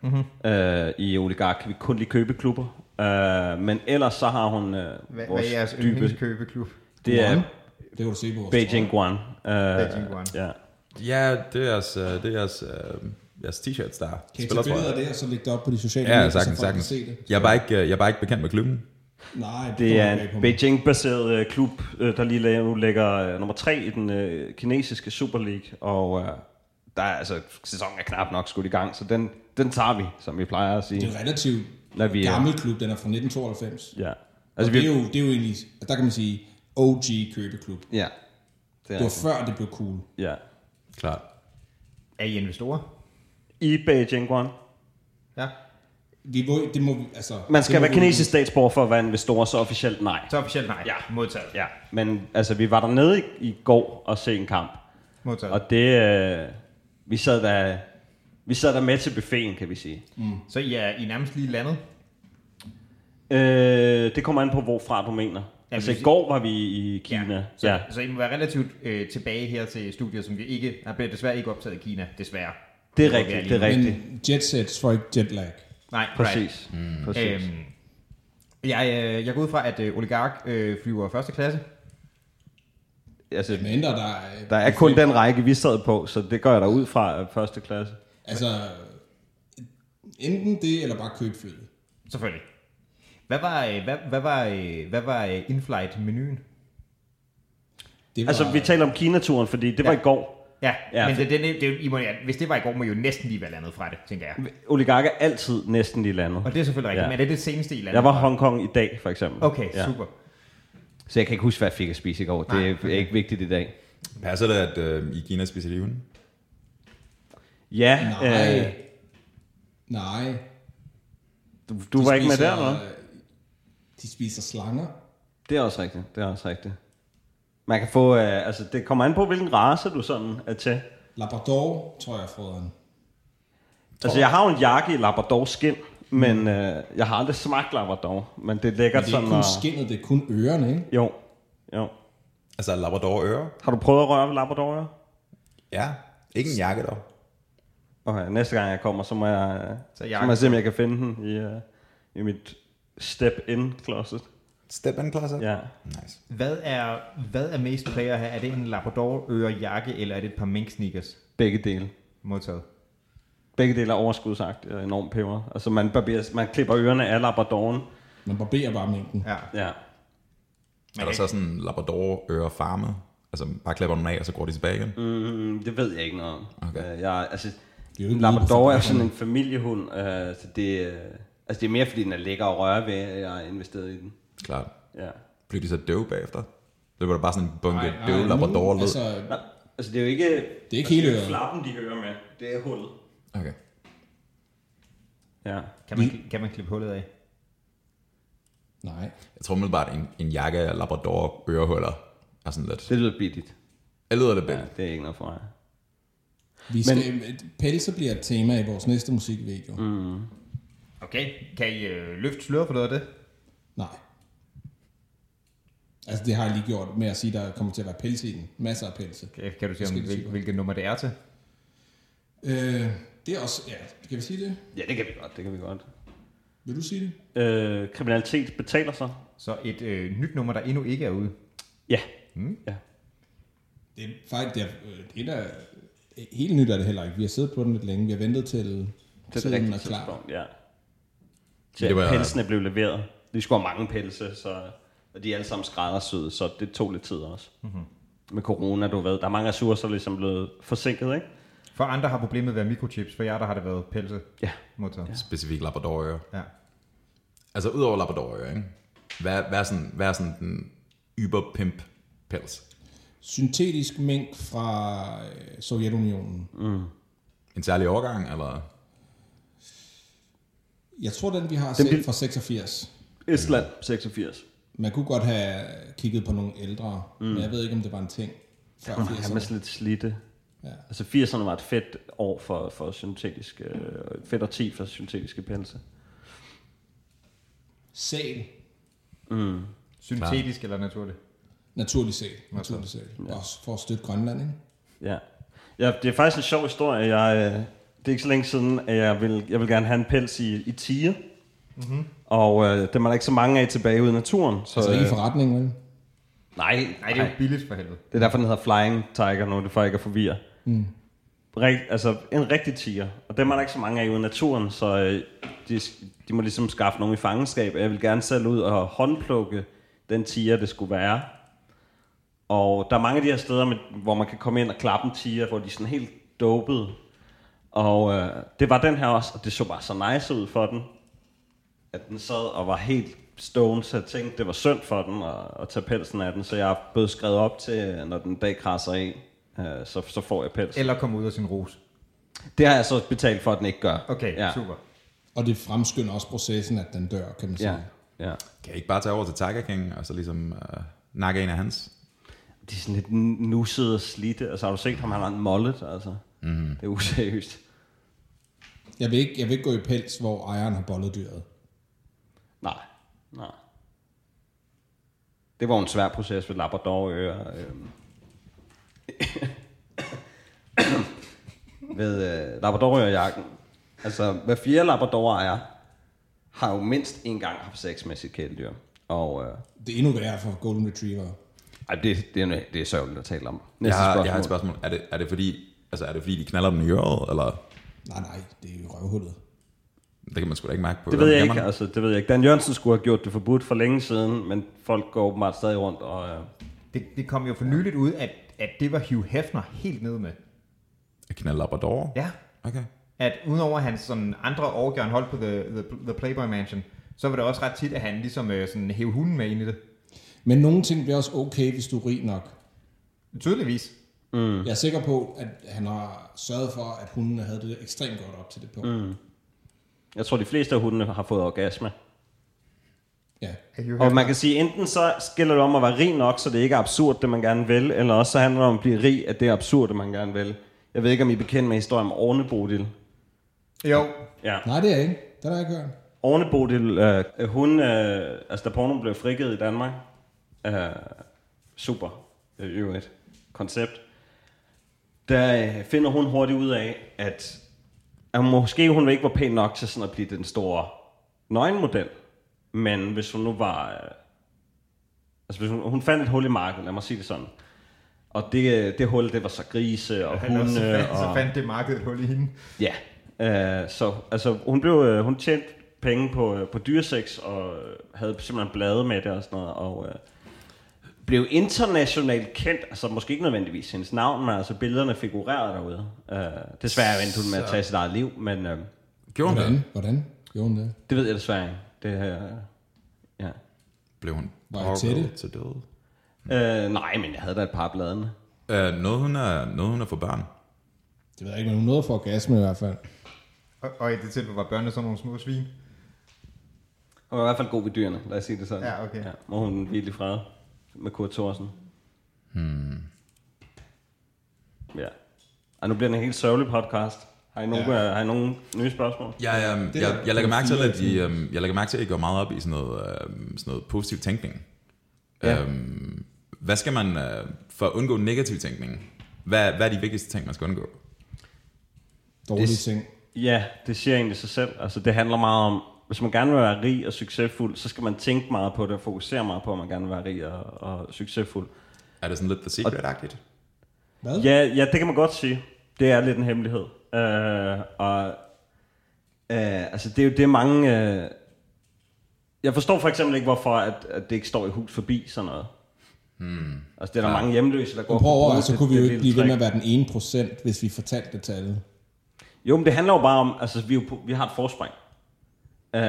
Speaker 3: Mm-hmm. Øh, I Oligark kan vi kun lide købeklubber. Øh, men ellers så har hun øh,
Speaker 2: Hvad, hvad
Speaker 3: vores
Speaker 2: er jeres
Speaker 3: dybe...
Speaker 2: yndlingskøbeklub?
Speaker 3: Det er
Speaker 4: Guan. Det kan du se på vores
Speaker 3: Beijing Guan. Øh,
Speaker 2: Beijing Guan.
Speaker 3: Ja.
Speaker 1: Ja, det er jeres, øh, det er jeres, øh, jeres t-shirts, der
Speaker 4: Kan I
Speaker 1: spiller,
Speaker 4: tage
Speaker 1: tror
Speaker 4: billeder af
Speaker 1: jeg.
Speaker 4: det, og så lægge det op på de sociale
Speaker 1: Ja,
Speaker 4: så
Speaker 1: sagtens,
Speaker 4: folk kan
Speaker 1: sagtens.
Speaker 4: se det?
Speaker 1: Jeg er, bare ikke, øh, jeg er bare ikke bekendt med klubben.
Speaker 4: Nej, det,
Speaker 3: Det er
Speaker 4: kommer bag på
Speaker 3: en
Speaker 4: mig.
Speaker 3: Beijing-baseret øh, klub, øh, der lige la- nu ligger øh, nummer tre i den øh, kinesiske Super League, og øh, der er altså, sæsonen er knap nok skudt i gang, så den, den tager vi, som vi plejer at
Speaker 4: Det
Speaker 3: sige.
Speaker 4: er en relativt
Speaker 3: Når vi er,
Speaker 4: gammel klub, den er fra 1992.
Speaker 3: ja.
Speaker 4: Altså,
Speaker 3: Altså,
Speaker 4: det,
Speaker 3: vi,
Speaker 4: er jo, det er jo egentlig, der kan man sige, OG købeklub.
Speaker 3: ja. Det
Speaker 4: Det
Speaker 3: er,
Speaker 4: var før, det blev cool.
Speaker 3: ja.
Speaker 1: Klart.
Speaker 2: Er I investorer?
Speaker 3: I Beijing Guan.
Speaker 2: Ja.
Speaker 4: Vi, må- det må, vi- altså,
Speaker 3: Man
Speaker 4: det må
Speaker 3: skal være
Speaker 4: vi-
Speaker 3: kinesisk statsborger for at være investor, så officielt nej.
Speaker 2: Så officielt nej.
Speaker 3: Ja.
Speaker 2: Modtaget.
Speaker 3: Ja, men altså, vi var dernede i, i går og se en kamp,
Speaker 2: Modtaget.
Speaker 3: og det, øh, vi sad der, vi sad der med til buffeten, kan vi sige.
Speaker 2: Så I er, I er nærmest lige landet?
Speaker 3: Øh, det kommer an på, hvorfra du mener. altså,
Speaker 2: hvis-
Speaker 3: i går var vi i Kina.
Speaker 2: Så,
Speaker 3: Ja.
Speaker 2: ja. så I må være relativt øh, tilbage her til studiet, som vi ikke... Der bliver desværre ikke optaget i Kina, desværre.
Speaker 3: Det er
Speaker 2: må
Speaker 3: rigtigt,
Speaker 2: være
Speaker 3: det er
Speaker 2: lige-
Speaker 4: Men
Speaker 3: rigtigt.
Speaker 4: jet sets får ikke jetlag.
Speaker 2: Nej, right.
Speaker 3: Præcis. Mm. Præcis.
Speaker 2: Øhm, jeg, øh, jeg går ud fra, at øh, oligark øh, flyver første klasse.
Speaker 3: altså,
Speaker 4: Men ændrer der... øh, er-
Speaker 3: der er kun den række, vi sad på, så det gør jeg da ud fra øh, første klasse.
Speaker 4: Altså, enten det, eller bare køb flyet.
Speaker 2: Selvfølgelig. Hvad var, øh, hvad, hvad var, øh, hvad var øh, in-flight-menuen?
Speaker 4: Det var,
Speaker 3: Altså, vi taler om Kinaturen, fordi det var
Speaker 2: Ja.
Speaker 3: i går.
Speaker 2: Ja,
Speaker 3: Ja,
Speaker 2: ja men
Speaker 3: for-
Speaker 2: det, det, det, det, I må, ja, hvis det var i går, må I jo næsten lige være landet fra det, tænker jeg.
Speaker 3: Oligarker er altid næsten lige landet.
Speaker 2: Og det er selvfølgelig rigtigt, ja.
Speaker 3: Ja.
Speaker 2: men er det det seneste, I landede
Speaker 3: Jeg var
Speaker 2: fra?
Speaker 3: i Hongkong i dag, for eksempel.
Speaker 2: Okay, ja. super.
Speaker 3: Så jeg kan ikke huske, hvad jeg fik at spise i går. Det er ikke vigtigt i dag.
Speaker 1: Passer det, at øh, i Kina spiser de hunde?
Speaker 3: Ja,
Speaker 4: Nej.
Speaker 3: øh,
Speaker 4: Nej.
Speaker 3: du, du var ikke med der,
Speaker 4: spiser-
Speaker 3: eller?
Speaker 4: De spiser slanger.
Speaker 3: Det er også rigtigt. Det er også rigtigt. Man kan få, øh, altså det kommer an på, hvilken race du sådan er til.
Speaker 4: Labrador, tror jeg, frøderen.
Speaker 3: Altså, jeg har jo en jakke i Labrador-skin, men øh, jeg har aldrig smagt Labrador. Men det er lækkert
Speaker 4: Men det er
Speaker 3: sådan
Speaker 4: ikke kun skinnet, det er kun ørerne, ikke?
Speaker 3: Jo, jo.
Speaker 1: Altså Labrador ører?
Speaker 3: Har du prøvet at røre ved Labrador? ja?
Speaker 1: Ja. Ikke en jakke dog.
Speaker 3: Okay, næste gang jeg kommer, så må jeg, øh, så
Speaker 2: jakken.
Speaker 3: må jeg se, om jeg kan finde den i, øh, i mit step-in-closet.
Speaker 1: Step and class
Speaker 3: Ja.
Speaker 1: Nice.
Speaker 2: Hvad er, hvad er mest player her? Er det en labrador jakke eller er det et par mink sneakers
Speaker 3: Begge dele.
Speaker 2: modtaget?
Speaker 3: Begge dele er overskudsagt og enormt peber. Altså, man, barberer, man klipper ørerne af Labradoren.
Speaker 4: Man barberer bare mængden.
Speaker 2: Ja.
Speaker 3: Ja.
Speaker 1: Er der så sådan en Labrador ører farmet? Altså bare klipper dem af, og så går de tilbage igen? Mm.
Speaker 3: Mm, det ved jeg ikke noget om.
Speaker 1: Okay.
Speaker 3: Øh, Jeg, altså,
Speaker 4: er jo ikke
Speaker 3: Labrador
Speaker 4: ude
Speaker 3: er
Speaker 4: på
Speaker 3: sådan en familiehund, øh, så det, øh, altså det er mere, fordi den er lækker at røre ved, at jeg har investeret i den.
Speaker 1: Klart.
Speaker 3: Ja.
Speaker 1: Bliver de så døve bagefter? Det var da bare sådan en bunke
Speaker 4: Nej,
Speaker 1: døve
Speaker 4: nu,
Speaker 1: Labrador lød.
Speaker 4: Altså,
Speaker 3: Nej, altså det er jo ikke, Altså,
Speaker 4: det er ikke hele
Speaker 3: det er jo
Speaker 4: øret.
Speaker 3: flappen, de hører med. Det er hullet.
Speaker 1: Okay.
Speaker 3: Ja.
Speaker 2: Kan man, kan man klippe hullet af?
Speaker 4: Nej.
Speaker 1: Jeg tror umiddelbart, en, en jakke af Labrador ørehuller er sådan lidt.
Speaker 3: Det lyder billigt.
Speaker 1: Jeg lyder det bedre.
Speaker 3: Ja, det er ikke noget for mig.
Speaker 4: Vi skal, Men, pelse bliver et tema i vores næste musikvideo. Mm.
Speaker 2: Okay. Kan I øh, løfte sløret for noget af det?
Speaker 4: Nej. Altså, det har jeg lige gjort med at sige, der kommer til at være pelse i den. Masser af pelse.
Speaker 2: Kan, kan du sige, om,
Speaker 4: Forskellige
Speaker 2: hvil,
Speaker 4: typer.
Speaker 2: hvilket nummer det er til?
Speaker 4: Øh, det er også... Ja, kan vi sige det?
Speaker 3: Ja, det kan vi godt, det kan vi godt.
Speaker 4: Vil du sige det?
Speaker 3: Øh, kriminalitet betaler sig.
Speaker 2: Så et øh, nyt nummer, der endnu ikke er ude.
Speaker 3: Ja. Mm. ja.
Speaker 4: Det er faktisk... Det er, øh, det er da, helt nyt er det heller ikke. Vi har siddet på den lidt længe. Vi har ventet til...
Speaker 3: Det er det
Speaker 4: tiden
Speaker 3: rigtige
Speaker 4: er klar.
Speaker 3: tidspunkt, ja. Til
Speaker 1: Det
Speaker 3: det
Speaker 1: var-
Speaker 3: var... pelsene blev leveret. Vi skulle have mange pelse, så, og de er alle sammen skræddersyede, så det tog lidt tid også. Mm-hmm. Med corona, du ved, der er mange ressourcer ligesom blevet forsinket, ikke?
Speaker 2: For andre har problemet været mikrochips, for jer der har det været pelse
Speaker 3: Ja.
Speaker 2: modtaget.
Speaker 1: Specifikt Labrador ører.
Speaker 2: Ja.
Speaker 1: Altså udover Labrador ører, ikke? Hvad, hvad, er sådan, hvad er sådan den yberpimp pels?
Speaker 4: Syntetisk mink fra øh, Sovjetunionen.
Speaker 1: En særlig årgang, eller?
Speaker 4: Jeg tror, den vi har
Speaker 3: Den
Speaker 4: set
Speaker 3: bil-
Speaker 4: fra 86.
Speaker 3: Estland, 86.
Speaker 4: Man kunne godt have kigget på nogle ældre, mm. men jeg ved ikke, om det var en ting før
Speaker 3: Han er
Speaker 4: 80'erne.
Speaker 3: sådan lidt slidte. Ja. Altså 80'erne var et fedt år for, for syntetisk, øh, fedt årti for syntetiske pelse.
Speaker 4: Sæl.
Speaker 2: Syntetisk eller naturligt?
Speaker 4: Naturlig sæl. Naturlig sæl. Også for at støtte Grønland, ikke?
Speaker 3: Ja. ja. det er faktisk en sjov historie. Jeg, øh, det er ikke så længe siden, at jeg vil, jeg vil gerne have en pels i, i tiger. Mm-hmm. Og øh, dem er der ikke så mange af tilbage ude i naturen. Så,
Speaker 4: Altså ikke i
Speaker 3: øh,
Speaker 4: forretningen, vel?
Speaker 3: nej,
Speaker 2: Nej, det er jo billigt for helvede.
Speaker 3: Det er derfor, den hedder Flying Tiger nu, det er for ikke at forvirre. Mm. Rigt, altså, en rigtig tiger. Og dem er der ikke så mange af ude i naturen, så øh, de, de må ligesom skaffe nogen i fangenskab. Jeg vil gerne selv ud og håndplukke den tiger, det skulle være. Og der er mange af de her steder, med, hvor man kan komme ind og klappe en tiger, hvor de er sådan helt dopede. Og øh, det var den her også, og det så bare så nice ud for den, at den sad og var helt stone, så jeg tænkte, det var synd for den at, at tage pelsen af den, så jeg er blevet skrevet op til, øh, når den en dag krasser af, øh, så, så får jeg pels.
Speaker 2: Eller komme ud af sin rose.
Speaker 3: Det har jeg så betalt for, at den ikke gør.
Speaker 2: Okay,
Speaker 3: ja.
Speaker 2: ja. super.
Speaker 4: Og det fremskynder også processen, at den dør, kan man sige.
Speaker 3: Ja,
Speaker 4: Ja.
Speaker 3: ja.
Speaker 1: Kan jeg ikke bare tage over til Tiger King, og så ligesom øh, nakke en af hans?
Speaker 3: De er sådan lidt nussede og slidte. Altså, har du set ham? Han har en mollet, altså. Mm. Det er useriøst.
Speaker 4: Jeg, vil ikke, jeg vil ikke gå i pels, hvor ejeren har bollet dyret.
Speaker 3: Nej, nej. Det var jo en svær proces ved Labrador-øer. Øhm. ved øh, Labrador-øer-jakken. Altså, hver fjerde labrador er, har jo mindst en gang haft sex med sit kæledyr. Og øh,
Speaker 4: Det er endnu værre for Golden Retriever.
Speaker 3: ej, det, det, er, det er sørgeligt at tale om.
Speaker 1: Jeg
Speaker 3: Næste
Speaker 1: har, jeg har et spørgsmål. Er det, er det fordi, altså, er det fordi de knaller dem i øret, eller
Speaker 4: Nej, nej, det er jo røvhullet.
Speaker 1: det kan man sgu da ikke mærke på?
Speaker 3: Det ved jeg
Speaker 1: Kan
Speaker 3: ikke,
Speaker 1: man?
Speaker 3: altså, det ved jeg ikke. Dan Jørgensen skulle have gjort det forbudt for længe siden, men folk går åbenbart stadig rundt og... Øh,
Speaker 2: Det, det kom jo for nyligt ud, at, at det var Hugh Hefner helt nede med.
Speaker 1: At
Speaker 3: altså.
Speaker 1: knalde Labrador?
Speaker 2: Ja.
Speaker 1: Okay.
Speaker 2: At udover hans sådan, andre årgang holdt på the, the, the Playboy Mansion, så var det også ret tit, at han ligesom øh, sådan, hævde hunden med ind i det.
Speaker 4: Men nogle ting bliver også okay, hvis du er rig nok.
Speaker 2: Tydeligvis.
Speaker 4: Mm. Jeg er sikker på, at han har sørget for, at hundene havde det ekstremt godt op til det punkt. Mm.
Speaker 3: jeg tror, de fleste af hundene har fået orgasme.
Speaker 4: Ja.
Speaker 2: At Hugh
Speaker 3: Og
Speaker 2: Hefner-
Speaker 3: man kan sige, enten så skiller det om at være rig nok, så det ikke er absurd, det man gerne vil, eller også så handler det om at blive rig, at det er absurd, det man gerne vil. Jeg ved ikke, om I er bekendt med historien om Orne Bodil.
Speaker 2: Jo,
Speaker 3: Ja.
Speaker 4: Nej, det er jeg ikke. Det har jeg ikke hørt.
Speaker 3: Orne Bodil, øh, hun, øh, altså da porno blev frigivet i Danmark, øh, super, øh, i øvrigt, koncept, der øh, finder hun hurtigt ud af, at, at måske hun ikke var pæn nok til sådan at blive den store nøgenmodel, men hvis hun nu var, øh, altså hvis hun, hun fandt et hul i marken, lad mig sige det sådan, og det, øh, det hul, det var så grise og
Speaker 2: Han
Speaker 3: hunde.
Speaker 2: også, så, fandt,
Speaker 3: og...
Speaker 2: så fandt det markedet et hul i hende.
Speaker 3: Ja, øh, så altså, hun, blev, øh, hun tjente penge på, øh, på dyresex og øh, havde simpelthen blade med det og sådan noget, og øh, blev internationalt kendt, altså måske ikke nødvendigvis hendes navn, men altså billederne figurerede derude. Øh, desværre endte hun med at tage sit eget liv, men øh,
Speaker 1: Gjorde hun
Speaker 4: Hvordan?
Speaker 1: det?
Speaker 4: Hvordan gjorde hun det?
Speaker 3: det ved jeg desværre ikke. Det, øh, ja.
Speaker 1: Blev hun
Speaker 4: Var jeg til
Speaker 1: orket
Speaker 4: det?
Speaker 1: til døde?
Speaker 3: øh, nej, men jeg havde da et par af bladene.
Speaker 1: Uh, noget, hun er, noget, hun er for børn.
Speaker 4: Det ved jeg ikke, men hun nåede for orgasme i hvert fald.
Speaker 2: Og, og i det tilfælde var børnene sådan nogle små svin.
Speaker 3: Hun var i hvert fald god ved dyrene, lad os sige det sådan.
Speaker 2: Ja, okay.
Speaker 3: Ja, må hun virkelig fred med Kurt Thorsen. Hmm. Ja. Og nu bliver det en helt sørgelig podcast. Har I nogen,
Speaker 4: Ja.
Speaker 3: ja. har I nogen nye spørgsmål?
Speaker 1: Jeg, um, jeg,
Speaker 4: Det er-
Speaker 1: jeg, jeg lægger mærke til, at I,
Speaker 4: fire-
Speaker 1: um, jeg lægger mærke til, at I går meget op i sådan noget, um, sådan noget positiv tænkning.
Speaker 3: Ja.
Speaker 1: Um, hvad skal man, uh, for at undgå negativ tænkning, hvad, hvad er de vigtigste ting, man skal undgå?
Speaker 4: Dårlige
Speaker 3: Det-
Speaker 4: ting.
Speaker 3: Ja, det siger egentlig sig selv. Altså, det handler meget om, hvis man gerne vil være rig og succesfuld, så skal man tænke meget på det og fokusere meget på, at man gerne vil være rig og, og succesfuld.
Speaker 1: Er det sådan lidt for secret-agtigt?
Speaker 4: Hvad?
Speaker 3: Ja, ja, det kan man godt sige. Det er lidt en hemmelighed. Øh, og øh, altså, det er jo det mange... Øh, jeg forstår for eksempel ikke, hvorfor at, at det ikke står i hus forbi sådan noget. Hmm. Altså, det er der ja. mange hjemløse, der går...
Speaker 4: Prøv over,
Speaker 3: bruger
Speaker 4: så
Speaker 3: det-
Speaker 4: kunne vi
Speaker 3: det
Speaker 4: jo ikke
Speaker 3: lille
Speaker 4: blive ved med
Speaker 3: trick.
Speaker 4: at være den ene procent, hvis vi fortalte det til alle.
Speaker 3: Jo, men det handler jo bare om, altså vi, er jo på, vi har et forspring. Øh,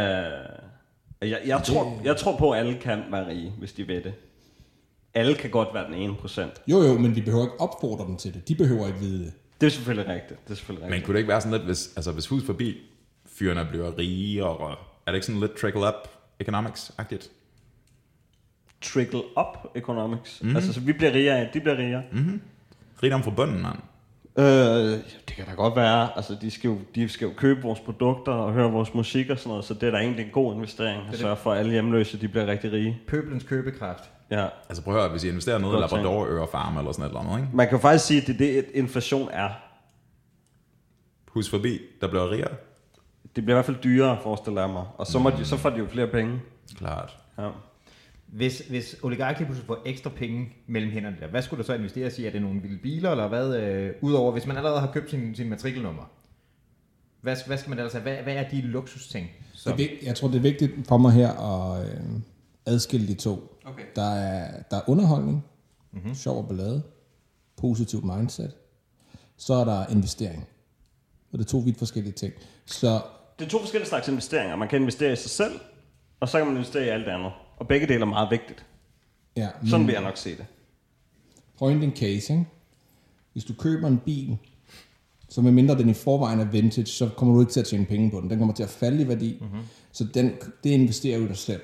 Speaker 3: jeg, jeg, tror, jeg tror på, at alle kan være rige, hvis de vil det. Alle kan godt være den ene procent.
Speaker 4: Jo, jo, men vi behøver ikke opfordre dem til det. De behøver ikke vide det.
Speaker 3: Det er selvfølgelig rigtigt. Det er selvfølgelig rigtigt.
Speaker 1: Men kunne det ikke være sådan lidt, hvis, altså, hvis hus forbi fyrene bliver rige, og er det ikke sådan lidt trickle-up economics-agtigt?
Speaker 3: trickle-up economics. Mm-hmm. Altså, så vi bliver rigere, de bliver rigere. Mm.
Speaker 1: Rigtig om fra bunden, mand.
Speaker 3: Øh, det kan da godt være. Altså, de skal, jo, de skal jo købe vores produkter og høre vores musik og sådan noget, så det er da egentlig en god investering at sørge for, at alle hjemløse de bliver rigtig rige.
Speaker 2: Pøbelens købekraft.
Speaker 3: Ja.
Speaker 1: Altså prøv at høre, hvis I investerer noget i
Speaker 3: Godt tænkt.
Speaker 1: Labrador Farm eller sådan et eller andet, ikke?
Speaker 3: Man kan jo faktisk sige, at det er det, inflation er.
Speaker 1: Hus forbi, der bliver rigere.
Speaker 3: Det bliver i hvert fald dyrere, forestiller jeg mig. Og så, må de, så får de jo flere penge.
Speaker 1: Klart.
Speaker 3: Ja.
Speaker 2: Hvis, hvis oligarker lige pludselig får ekstra penge mellem hænderne der, hvad skulle der så investeres i? Er det nogle vilde biler, eller hvad? Øh, Udover, hvis man allerede har købt sin, sin matrikelnummer. Hvad, hvad skal man ellers have? Hvad, hvad er de luksusting?
Speaker 4: Det er,
Speaker 2: Så,
Speaker 4: vig- jeg tror, det er vigtigt for mig her at øh, adskille de to.
Speaker 2: Okay. Mhm.
Speaker 4: Der, er, der er underholdning, mm-hmm. sjov og ballade, positiv mindset. Så er der investering. Og det er to vidt forskellige ting. Så
Speaker 3: Det er to forskellige slags investeringer. Man kan investere i sig selv, og så kan man investere i alt det andet. Og begge dele er meget vigtigt.
Speaker 4: ja,
Speaker 3: Sådan vil jeg nok se det.
Speaker 4: point in case, ikke? Hvis du køber en bil, så medmindre den i forvejen er vintage, så kommer du ikke til at tjene penge på den. Den kommer til at falde i værdi. Mm-hmm. Så den, det investerer du i dig selv.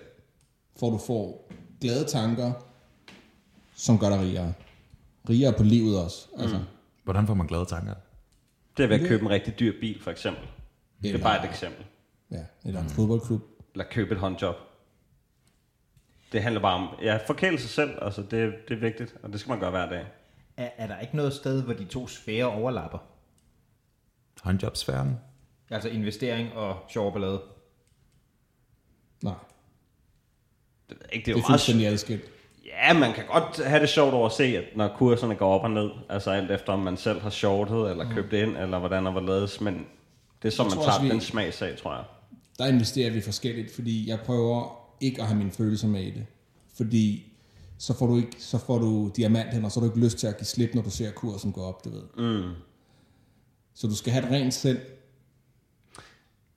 Speaker 4: For du får glade tanker, som gør dig rigere. Rigere på livet også. Altså,
Speaker 1: Hvordan får man glade tanker?
Speaker 3: Det er ved at købe en rigtig dyr bil, for eksempel. Det er
Speaker 4: Eller-
Speaker 3: bare et eksempel.
Speaker 4: ja, eller en fodboldklub.
Speaker 3: Eller købe et håndjob. Det handler bare om, ja, forkæle sig selv, altså det, det er vigtigt, og det skal man gøre hver dag.
Speaker 2: er, er der ikke noget sted, hvor de to sfære overlapper?
Speaker 1: Håndjobsfæren?
Speaker 2: Altså investering og sjov og ballade.
Speaker 4: Nej,
Speaker 3: Det, ved jeg ikke,
Speaker 4: det
Speaker 3: det er
Speaker 4: er
Speaker 3: jo meget,
Speaker 4: fuldstændig adskilt.
Speaker 3: ja, man kan godt have det sjovt over at se, at når kurserne går op og ned, altså alt efter om man selv har shortet, eller købt ind, eller hvordan og hvorledes, men det er så, man
Speaker 4: Mm. tror
Speaker 3: tager
Speaker 4: også, vi-
Speaker 3: den smagsag, tror jeg.
Speaker 4: der investerer vi forskelligt, fordi jeg prøver ikke at have mine følelser med i det. Fordi så får du, ikke, så får du diamanten, og så har du ikke lyst til at give slip, når du ser kursen gå op, du ved. Mm. Så du skal have et rent sind.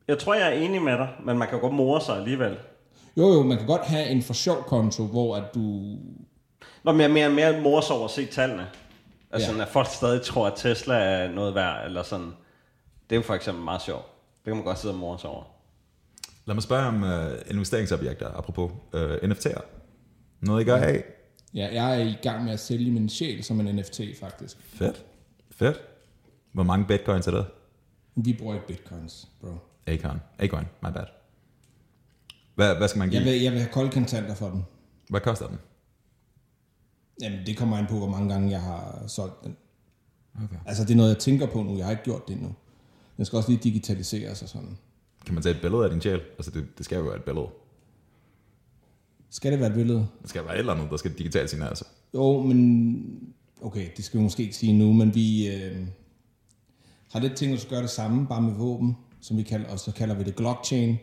Speaker 3: Jeg tror, jeg er enig med dig, men man kan godt more sig alligevel.
Speaker 4: Jo jo, man kan godt have en for sjov konto, hvor at du...
Speaker 3: Nå, men jeg er mere, mere mors over at se tallene. Altså,
Speaker 4: Ja.
Speaker 3: sådan, at folk stadig tror, at Tesla er noget værd, eller sådan. Det er jo for eksempel meget sjovt. Det kan man godt sidde og mors over.
Speaker 1: Lad mig spørge om øh, investeringsobjekter, apropos øh, NFT'er. Noget, I gør af?
Speaker 4: Ja, jeg er i gang med at sælge min sjæl som en NFT, faktisk.
Speaker 1: Fedt. Fedt. Hvor mange bitcoins er det?
Speaker 4: Vi bruger ikke bitcoins, bro.
Speaker 1: Acorn. Acorn, my bad. Hvad, hvad skal man give?
Speaker 4: Jeg vil, jeg vil have kolde kontanter for dem.
Speaker 1: Hvad koster den?
Speaker 4: Jamen, det kommer an på, hvor mange gange jeg har solgt den. Okay. Altså, det er noget, jeg tænker på nu. Jeg har ikke gjort det endnu. Den skal også lige digitaliseres og sådan.
Speaker 1: Kan man tage et billede af din sjæl? Altså, det, det skal jo være et billede.
Speaker 4: Skal det være et billede?
Speaker 1: Det skal være et eller andet, der skal digitalt sin altså.
Speaker 4: Jo, men... Okay, det skal vi måske ikke sige nu, men vi øh, har lidt tænkt os at gøre det samme, bare med våben, som vi kalder, og så kalder vi det Glockchain.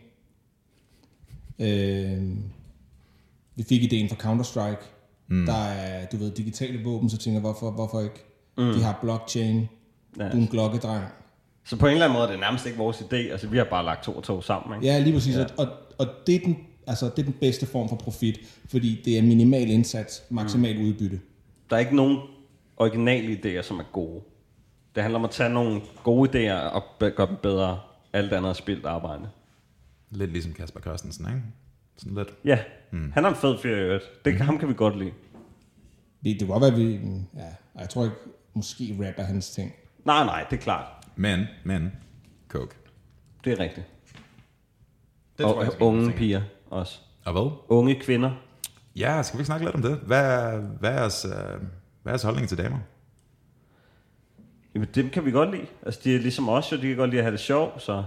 Speaker 4: Øh, vi fik ideen fra Counter-Strike. Mm. Der er, du ved, digitale våben, så tænker jeg, hvorfor, hvorfor ikke? Mm. De har blockchain.
Speaker 3: Ja.
Speaker 4: Du er en glokkedreng.
Speaker 3: Så på en eller anden måde er det nærmest ikke vores idé. Altså, vi har bare lagt to og to sammen, ikke?
Speaker 4: Ja, lige præcis. Ja. Og, og det, er den, altså, det er den bedste form for profit, fordi det er minimal indsats, maksimal mm. udbytte.
Speaker 3: Der er ikke nogen originale idéer, som er gode. Det handler om at tage nogle gode idéer og be- gøre dem bedre. Alt andet er spildt arbejde.
Speaker 1: Lidt ligesom Kasper Christensen, ikke? Sådan lidt.
Speaker 3: Ja, mm. han er en fed fyr i øvrigt. Det, ham kan vi godt lide.
Speaker 4: Det, det kan godt være, at vi... Ja, ej, jeg tror ikke, måske rap er hans ting.
Speaker 3: Nej, nej, det er klart.
Speaker 1: Men, men, coke.
Speaker 3: Det er rigtigt.
Speaker 2: Det
Speaker 3: og unge piger også.
Speaker 1: Og hvad?
Speaker 3: Unge kvinder.
Speaker 1: Ja, skal vi ikke snakke lidt om det? Hvad er, hvad er, jeres, øh, hvad er jeres holdning til damer?
Speaker 3: Jamen, dem kan vi godt lide. Altså, de er ligesom os, jo. De kan godt lide at have det sjovt, så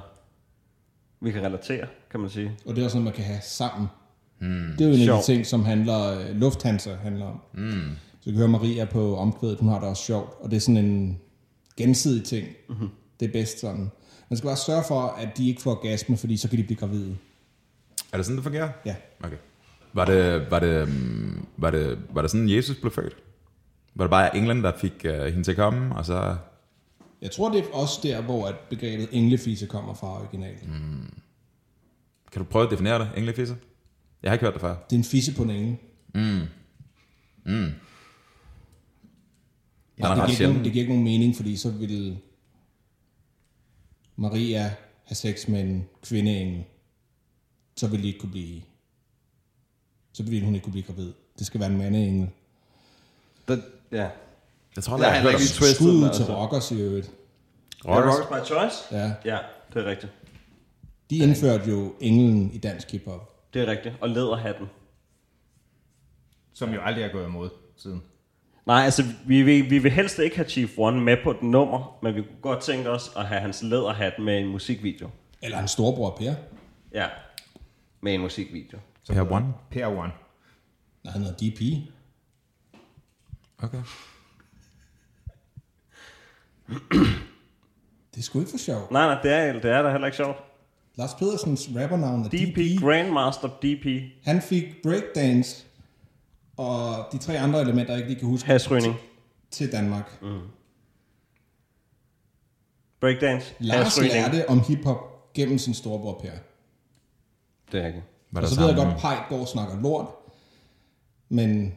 Speaker 3: vi kan relatere, kan man sige.
Speaker 4: Og det er også noget, man kan have sammen. Mm. Det er jo en af
Speaker 3: Sjov.
Speaker 4: de ting, som handler, øh, Lufthansa handler om. Mm. Så kan høre Maria på omkvædet, hun har det også sjovt. Og det er sådan en gensidig ting. Mm-hmm. Det er bedst sådan. Man skal bare sørge for, at de ikke får orgasme, fordi så kan de blive gravide.
Speaker 1: Er det sådan, det fungerer?
Speaker 4: Ja.
Speaker 1: Okay. Var det, var det, mm, var det, var det sådan, Jesus blev født? Var det bare England, der fik øh, hende til at komme, og så...
Speaker 4: Jeg tror, det er også der, hvor at begrebet englefise kommer fra originalen. Mm.
Speaker 1: Kan du prøve at definere det, englefisse? Jeg har ikke hørt det før.
Speaker 4: Det er en fisse på en engel.
Speaker 1: Ja,
Speaker 4: det, giver ikke nogen, det giver ikke nogen mening, fordi så ville Maria have sex med en kvindeengel. Så ville de ikke kunne blive så ville hun ikke kunne blive gravid. Det skal være en mandeengel.
Speaker 3: Der, ja.
Speaker 1: Jeg tror,
Speaker 3: Der
Speaker 1: jeg
Speaker 3: er
Speaker 1: har
Speaker 3: heller
Speaker 1: hørt
Speaker 3: ikke
Speaker 1: om
Speaker 3: lige twistet.
Speaker 4: Skud
Speaker 3: den,
Speaker 4: ud til
Speaker 3: altså.
Speaker 4: rockers i øvrigt.
Speaker 1: Rockers.
Speaker 3: Rockers by Choice?
Speaker 4: Ja.
Speaker 3: Ja, det er rigtigt.
Speaker 4: De indførte jo englen i dansk hiphop.
Speaker 3: Det er rigtigt. Og læderhatten.
Speaker 2: Som jo aldrig er gået imod siden.
Speaker 3: Nej, altså, vi vil, vi vil helst ikke have Chief One med på et nummer, men vi kunne godt tænke os at have hans læderhat med i en musikvideo.
Speaker 4: Eller en storbror Per.
Speaker 3: Ja, med en musikvideo.
Speaker 1: Per One.
Speaker 2: Per One.
Speaker 4: Nej, han hedder DP.
Speaker 1: Okay.
Speaker 4: Det er sgu ikke for sjovt.
Speaker 3: Nej, nej, det er, det er da heller ikke sjovt.
Speaker 4: Lars Pedersens rappernavn er
Speaker 3: DP,
Speaker 4: DP.
Speaker 3: Grandmaster DP.
Speaker 4: Han fik breakdance og de tre andre elementer, jeg ikke lige kan huske,
Speaker 3: Hasrygning.
Speaker 4: til Danmark. Mm.
Speaker 3: Breakdance.
Speaker 4: Lars
Speaker 3: hasrygning.
Speaker 4: lærte om hiphop gennem sin storbror Per.
Speaker 3: Det er rigtigt.
Speaker 1: Var
Speaker 4: Og
Speaker 1: der
Speaker 4: så ved jeg
Speaker 1: sammen-
Speaker 4: godt, Pej går og snakker lort, men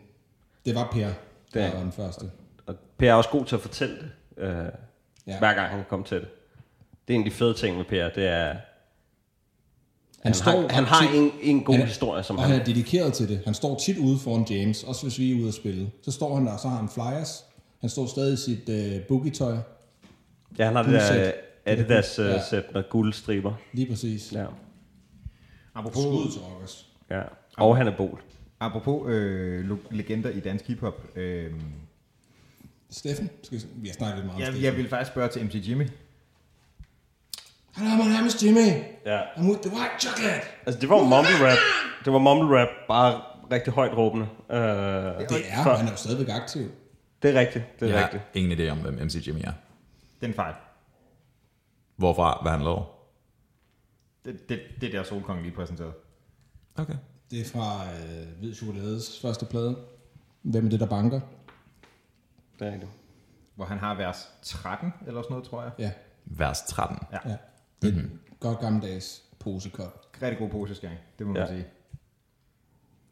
Speaker 4: det var Per,
Speaker 3: Det
Speaker 4: der
Speaker 3: er-
Speaker 4: var den første.
Speaker 3: Og Per er også god til at fortælle det, øh,
Speaker 4: Ja.
Speaker 3: ja. hver gang han kan komme til det. Det er en af de fede ting med Per, det er, han,
Speaker 4: Han,
Speaker 3: har, han har
Speaker 4: tit-
Speaker 3: en, en god
Speaker 4: han er-
Speaker 3: historie, som
Speaker 4: og
Speaker 3: han...
Speaker 4: han er dedikeret til det. Han står tit ude foran James, også hvis vi er ude at spille. Så står han der, og så har han flyers. Han står stadig i sit øh, boogie-tøj.
Speaker 3: Ja, han har det der
Speaker 4: guldsæt.
Speaker 3: øh, Adidas
Speaker 4: Ja.
Speaker 3: ja. sæt med guldstriber.
Speaker 4: Lige præcis. Ja.
Speaker 3: Ja.
Speaker 4: Skud
Speaker 2: Apropos,
Speaker 4: til rockers.
Speaker 3: ja. Og han er bol.
Speaker 2: apropos øh, lo- legender i dansk hiphop. Øh,
Speaker 4: Steffen? Skal vi, vi har snakket lidt meget om
Speaker 2: jeg,
Speaker 4: Steffen.
Speaker 2: jeg vil faktisk spørge til MC Jimmy.
Speaker 4: Hello, my name is Jimmy.
Speaker 3: Ja.
Speaker 4: I'm with the white chocolate.
Speaker 3: Altså, det var jo mumble rap. Det var mumble rap, bare rigtig højt råbende. Øh,
Speaker 4: Det er,
Speaker 3: så-
Speaker 4: han er jo stadigvæk aktiv.
Speaker 3: det er rigtigt, det er
Speaker 1: Jeg
Speaker 3: rigtigt.
Speaker 1: har ingen idé om, hvem MC Jimmy er.
Speaker 2: Den fejl.
Speaker 1: Hvorfra, hvad han laver.
Speaker 2: Det, det, det er der Solkongen lige præsenterede.
Speaker 1: Okay.
Speaker 4: Det er fra øh, Hvid Chokolades første plade. Hvem er det, der banker?
Speaker 3: Det er rigtigt.
Speaker 2: Hvor han har vers 13 eller sådan noget, tror jeg.
Speaker 4: Ja,
Speaker 1: Vers 13.
Speaker 2: Ja.
Speaker 4: ja. Det er mm-hmm. godt gammeldags posekop.
Speaker 2: Rigtig god poseskæring, det må man
Speaker 3: Ja.
Speaker 2: sige.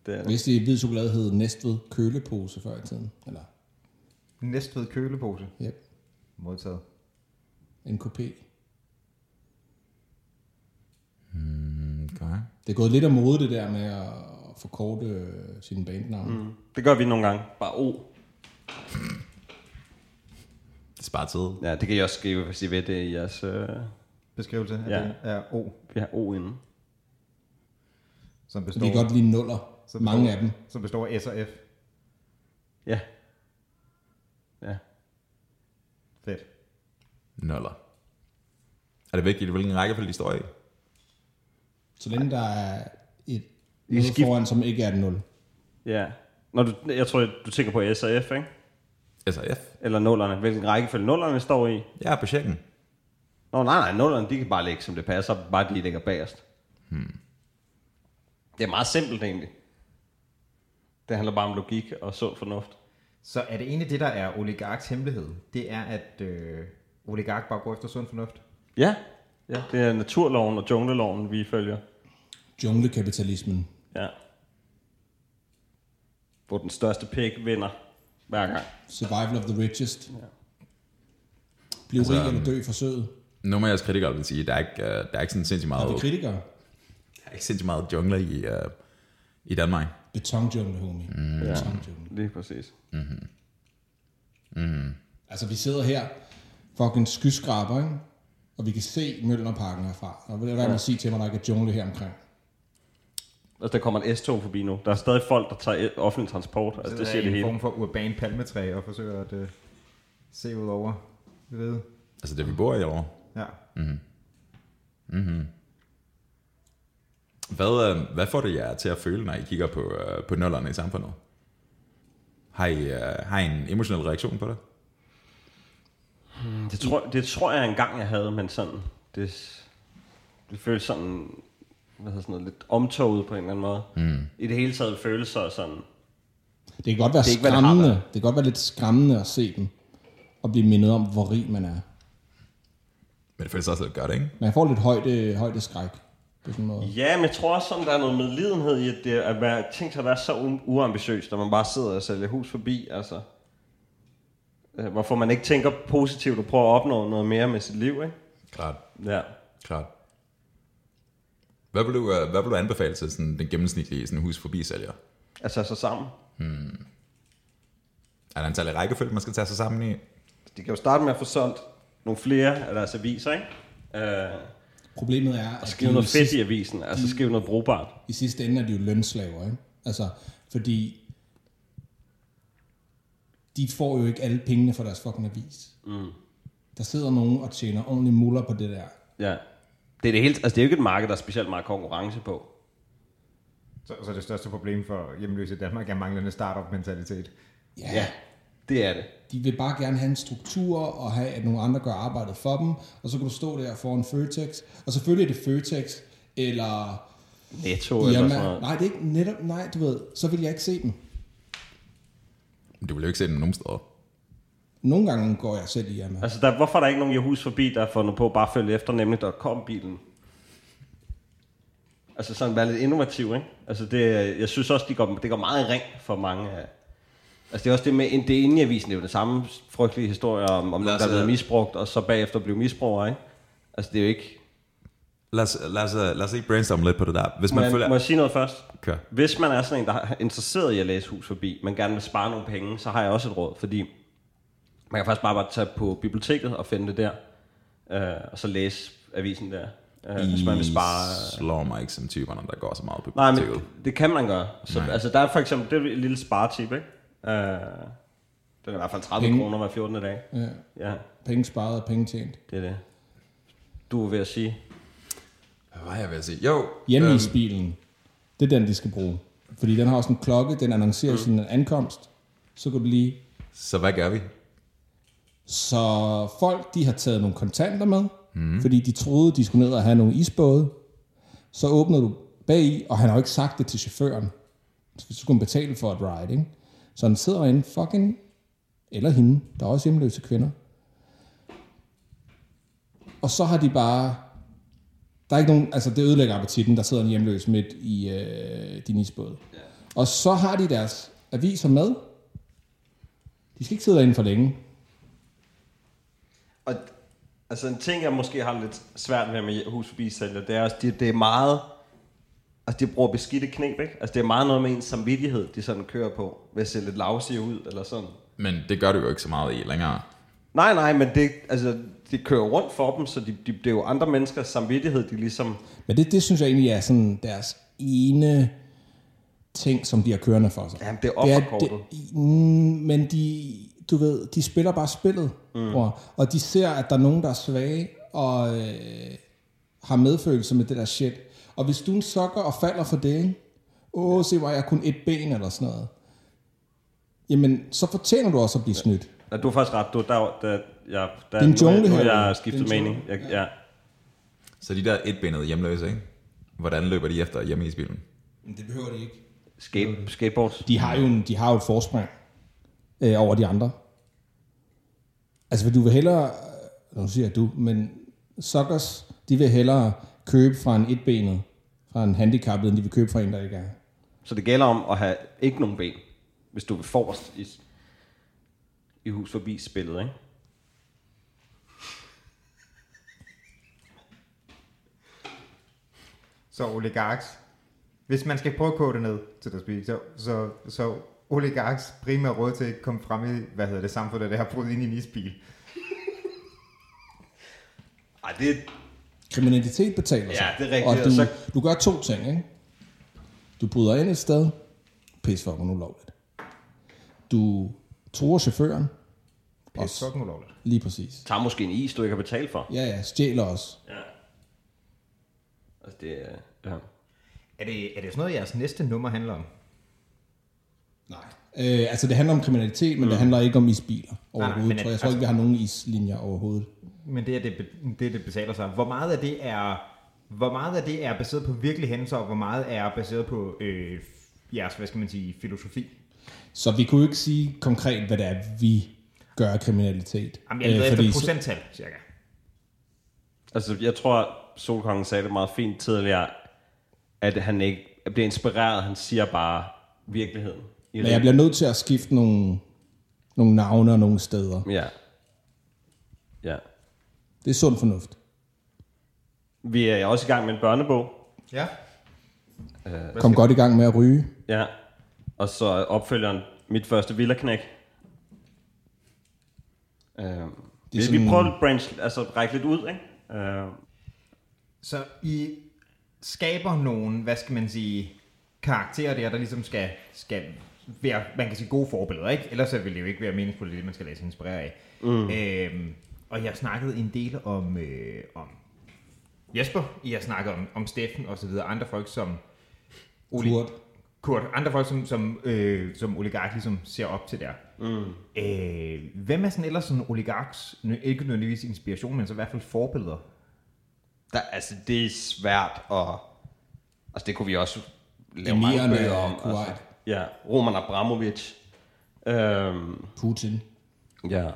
Speaker 3: Det er det.
Speaker 4: Hvis det Hvid Chokolade hed Næstved kølepose før i tiden. Eller,
Speaker 2: Næstved kølepose.
Speaker 4: yep,
Speaker 2: Modtaget.
Speaker 4: en kopé.
Speaker 1: Okay.
Speaker 4: Det er gået lidt af mode, det der med at forkorte øh, sine bandnavne. Mm.
Speaker 3: Det gør vi nogle gange. Bare O.
Speaker 1: Det sparer tid.
Speaker 3: Ja, det kan I også skrive, hvis I ved det i jeres... Øh,
Speaker 2: Beskrivelse af
Speaker 3: Ja.
Speaker 2: det er O,
Speaker 3: vi har O inden.
Speaker 2: som
Speaker 4: Så vi
Speaker 2: består,
Speaker 4: kan godt lide nuller.
Speaker 2: Så
Speaker 4: Mange
Speaker 2: består-
Speaker 4: af dem.
Speaker 2: som består af S og F.
Speaker 3: Ja. Ja.
Speaker 2: Fedt.
Speaker 1: Nuller. Er det vigtigt, hvilken rækkefølge de står i?
Speaker 4: Så længe der er et
Speaker 3: I
Speaker 4: noget
Speaker 3: skift-
Speaker 4: foran, som ikke er et nul.
Speaker 3: Ja. Når du, jeg tror, du tænker på S og F, ikke?
Speaker 1: SRF?
Speaker 3: Eller nullerne. Hvilken rækkefølge nullerne står i.
Speaker 1: Jeg er på checken.
Speaker 3: Nå, nej, nej. Nullerne, de kan bare ligge, som det passer. Bare de ligger bagerst. Hmm. Det er meget simpelt, egentlig. Det handler bare om logik og sund fornuft.
Speaker 2: Så er det egentlig det, der er oligarks hemmelighed? Det er, at øh, oligark bare går efter sund fornuft.
Speaker 3: Ja. ja. Det er naturloven og jungleloven, vi følger.
Speaker 4: Junglekapitalismen.
Speaker 3: Ja. Hvor den største pik vinder hver gang.
Speaker 4: Survival of the richest. Ja. Bliv
Speaker 1: Altså,
Speaker 4: altså, rig eller
Speaker 1: øhm,
Speaker 4: dø i forsøget.
Speaker 1: Nu må jeres kritikere vil sige, der er ikke, øh, der er ikke sådan sindssygt
Speaker 4: Er
Speaker 1: meget,
Speaker 4: vi kritikere?
Speaker 1: der er ikke sindssygt meget jungler i, øh, i Danmark.
Speaker 4: Betonjungle, homie. Mm. Betonjungle.
Speaker 3: Lige præcis.
Speaker 4: Altså, vi sidder her, fucking skyskraber, ikke? Og vi kan se Møllerparken herfra. Og vil jeg være med at sige til mig, der ikke er jungle her omkring.
Speaker 3: Altså, der kommer en S-tog forbi nu. Der er stadig folk, der tager offentlig transport. Altså, det
Speaker 2: Sidder
Speaker 3: siger
Speaker 2: i
Speaker 3: det
Speaker 2: en
Speaker 3: hele.
Speaker 2: form for urban palmetræ og forsøger at øh, se ud over ved.
Speaker 1: Altså det, vi bor i over.
Speaker 2: Ja.
Speaker 1: Hvad, øh, hvad får det jer til at føle, når I kigger på, øh, på nullerne i samfundet? Har I, øh, har I en emotionel reaktion på det?
Speaker 3: Det tror, det tror jeg engang, jeg havde, men sådan... Det, det føles sådan... Hvad hedder sådan noget? Lidt omtoget på en eller anden måde. Mm. I det hele taget føles så sådan...
Speaker 4: Det kan godt være
Speaker 3: Det
Speaker 4: det
Speaker 3: er ikke, hvad det har
Speaker 4: skræmmende.
Speaker 3: været.
Speaker 4: Det, kan godt være lidt skræmmende at se dem. Og blive mindet om, hvor rig man er.
Speaker 1: Men det føles også lidt godt, ikke?
Speaker 4: Man får lidt højde, højde skræk. På sådan en måde.
Speaker 3: Ja, men jeg tror også sådan, der er noget medlidenhed i, at, det, at være, tænk sig at være så u- uambitiøs, når man bare sidder og sælger hus forbi, altså. Øh, Hvorfor man ikke tænker positivt og prøver at opnå noget mere med sit liv, ikke?
Speaker 1: Klart,
Speaker 3: Ja.
Speaker 1: klart. Hvad vil du, øh, hvad vil du anbefale til sådan, den gennemsnitlige sådan, hus forbi sælger?
Speaker 3: Altså så sammen.
Speaker 1: Er der en særlig rækkefølge, man skal tage sig sammen i?
Speaker 3: De kan jo starte med at få solgt nogle flere af deres aviser, ikke? Øh,
Speaker 4: Problemet er, at de
Speaker 3: skrive
Speaker 4: jo i,
Speaker 3: noget fedt
Speaker 4: sidste,
Speaker 3: i avisen, altså skrive noget brugbart.
Speaker 4: i sidste ende er de jo lønslaver, ikke? Altså, fordi de får jo ikke alle pengene fra deres fucking avis. Mm. Der sidder nogen og tjener ordentlig muller på det der.
Speaker 3: Ja. Det er, det, hele, altså, det er jo ikke et marked, der er specielt meget konkurrence på.
Speaker 8: Så, så det største problem for hjemløse i Danmark er manglende startup-mentalitet.
Speaker 4: Ja,
Speaker 3: Ja, det er det.
Speaker 4: de vil bare gerne have en struktur og have, at nogle andre gør arbejdet for dem, og så kan du stå der foran Føtex, og selvfølgelig er det Føtex, eller
Speaker 3: Netto eller sådan
Speaker 4: Irma.
Speaker 3: noget.
Speaker 4: Nej, det er ikke netop, nej, du ved, så vil jeg ikke se dem.
Speaker 1: Men Du vil jo ikke se den nogen steder.
Speaker 4: Nogle gange går jeg selv i Irma.
Speaker 3: Altså, der, hvorfor er der ikke nogen Yahoo's forbi, der har fundet på at bare følge efter, nemlig der kom bilen? Altså sådan være lidt innovativ, ikke? Altså det, jeg synes også, de går, det går meget i ring for mange af... Altså det er også det med, det er inde i avisen, det er jo den samme frygtelige historie om, om nogen,
Speaker 1: os,
Speaker 3: der er blevet
Speaker 1: øh,
Speaker 3: misbrugt, og så bagefter blev misbruger, ikke? Altså det er jo ikke...
Speaker 1: Lad os, lad os, øh, lad os lige brainstorme lidt på det der. Hvis
Speaker 3: Må
Speaker 1: man,
Speaker 3: jeg,
Speaker 1: føler...
Speaker 3: må jeg sige noget først?
Speaker 1: Kør.
Speaker 3: Hvis man er sådan en, der er interesseret i at læse hus forbi, men gerne vil spare nogle penge, så har jeg også et råd, fordi man kan faktisk bare, bare tage på biblioteket og finde det der, øh, og så læse avisen der, øh, hvis man vil spare.
Speaker 1: I slår mig ikke som typerne, der går så meget på
Speaker 3: Nej, men
Speaker 1: biblioteket.
Speaker 3: det, det kan man gøre. Så,
Speaker 1: Nej.
Speaker 3: altså, der er for eksempel, det er et lille sparetip, ikke? Øh, det er i hvert fald 30
Speaker 4: Penge.
Speaker 3: kroner hver 14. dag.
Speaker 4: Ja,
Speaker 3: Ja,
Speaker 4: penge sparet og penge tjent.
Speaker 3: det er det. Du var ved at sige,
Speaker 1: Hvad var jeg ved at sige? Jo,
Speaker 4: Hjemmeisbilen, det er den, de skal bruge. Fordi den har også en klokke, den annoncerer mm. sin ankomst. Så kan du lige...
Speaker 1: så hvad gør vi?
Speaker 4: Så folk, de har taget nogle kontanter med, mm. fordi de troede, de skulle ned og have nogle isbåde. Så åbner du bagi, og han har jo ikke sagt det til chaufføren. Så skulle han betale for et ride, ikke? Så han sidder inde fucking... Eller hende, der er også hjemløse kvinder. Og så har de bare... Der er ikke nogen... Altså, det ødelægger appetitten, der sidder en hjemløs midt i øh, din isbåd. Og så har de deres aviser med. De skal ikke sidde derinde for længe.
Speaker 3: Og altså en ting, jeg måske har lidt svært ved med hus forbi sælger, det er også, det, det er meget, altså de bruger beskidte knep, ikke? Altså det er meget noget med ens samvittighed, de sådan kører på, ved at se lidt lavsige ud, eller sådan.
Speaker 1: Men det gør du jo ikke så meget i længere.
Speaker 3: Nej, nej, men det, altså, det kører rundt for dem, så de, de, det er jo andre menneskers samvittighed, de ligesom...
Speaker 4: Men det, det synes jeg egentlig er sådan deres ene ting, som de har kørende for sig.
Speaker 3: Jamen, det er
Speaker 4: det,
Speaker 3: offerkortet.
Speaker 4: mm, Men de, du ved, de spiller bare spillet, mm. bror, og de ser, at der er nogen, der er svage, og øh, har medfølelse med det der shit. Og hvis du er en sokker og falder for det, ikke? åh, se mig, jeg har kun et ben eller sådan noget. Jamen, så fortjener du også at blive snydt.
Speaker 3: Ja, du har faktisk ret, du, der, der, jeg, der,
Speaker 4: Det er en jungle
Speaker 3: nu, nu,
Speaker 4: her,
Speaker 3: jeg
Speaker 4: jo.
Speaker 3: har
Speaker 4: Det
Speaker 3: skiftet
Speaker 4: er en
Speaker 3: mening. Jeg, ja.
Speaker 1: Så de der etbenede hjemløse, ikke? Hvordan løber de efter hjemme i bilen?
Speaker 4: Men det behøver de ikke.
Speaker 3: Skate, skateboards.
Speaker 4: de har jo, en, de har jo et forspring øh, over de andre. Altså, vil du vil hellere, øh, nu siger jeg du, men suckers, de vil hellere købe fra en etbenet, fra en handicappet, end de vil købe fra en, der ikke er.
Speaker 3: Så det gælder om at have ikke nogen ben, hvis du vil forrest i, i hus forbi spillet, ikke?
Speaker 8: Så oligarks. Hvis man skal prøve at kode det ned til det speak, så, så, så oligarks primære råd til at komme frem i, hvad hedder det, samfundet, det har brugt ind i en isbil.
Speaker 3: Ej, det,
Speaker 4: Kriminalitet betaler sig.
Speaker 3: Ja, det er rigtigt,
Speaker 4: Og
Speaker 3: og
Speaker 4: du,
Speaker 3: så-
Speaker 4: du gør to ting, ikke? Du bryder ind et sted, pis for mig nu lovligt. Du tror chaufføren,
Speaker 8: Det er fucking ulovligt.
Speaker 4: lige præcis.
Speaker 3: tager måske en is, du ikke har betalt for.
Speaker 4: Ja, ja, stjæler også.
Speaker 3: Altså, det er... Ja.
Speaker 8: Er det, er det sådan noget, jeres næste nummer handler om?
Speaker 4: Nej. Øh, altså, det handler om kriminalitet, men mm. det handler ikke om isbiler
Speaker 8: Nej,
Speaker 4: overhovedet.
Speaker 8: men altså-
Speaker 4: Nej,
Speaker 8: at-
Speaker 4: tror jeg. jeg tror ikke, vi har nogen islinjer overhovedet.
Speaker 8: Men det er det, be- det, er det betaler sig. Hvor meget af det er, hvor meget af det er baseret på virkelige hændelser, og hvor meget er baseret på øh, jeres, hvad skal man sige, filosofi?
Speaker 4: Så vi kunne jo ikke sige konkret, hvad det er, vi gør af kriminalitet. Øh,
Speaker 8: Jamen, jeg leder efter
Speaker 4: så-
Speaker 8: procenttal, cirka.
Speaker 3: Altså, jeg tror, Solkongen sagde det meget fint tidligere, at han ikke at bliver inspireret. Han siger bare virkeligheden. I
Speaker 4: Men jeg bliver nødt til at skifte nogle, nogle navne og nogle steder.
Speaker 3: Ja. Ja.
Speaker 4: Det er sund fornuft.
Speaker 3: Vi er også i gang med en børnebog.
Speaker 8: Ja.
Speaker 4: Kom godt i gang med at ryge.
Speaker 3: Ja. Og så opfølgeren, mit første villaknæk. Øh, vi, sådan... vi
Speaker 4: sådan-
Speaker 3: prøver at branch, altså række lidt ud, ikke? Øh,
Speaker 8: Så I skaber nogle, hvad skal man sige, karakterer der, der ligesom skal, skal være, man kan sige, gode forbilleder, ikke? Ellers så ville det jo ikke være meningsfuldt, det man skal lade sig inspirere af. Mm. Øhm, og jeg har snakket en del om, øh, om Jesper, I har snakket om, om Steffen og så videre, andre folk som Oli-
Speaker 4: Kurt.
Speaker 8: Kurt, andre folk som, som, øh, som oligark ligesom ser op til der. Mm. Øh, hvem er sådan ellers sådan oligarks, nø- ikke nødvendigvis inspiration, men så i hvert fald forbilleder?
Speaker 9: Der, altså, det er svært at... Altså, det kunne vi også lave mange
Speaker 4: Emirerne
Speaker 9: bøger om.
Speaker 3: altså.
Speaker 9: altså.
Speaker 4: og Kuwait.
Speaker 3: ja, Roman Abramovic. Øhm,
Speaker 4: Putin.
Speaker 3: ja,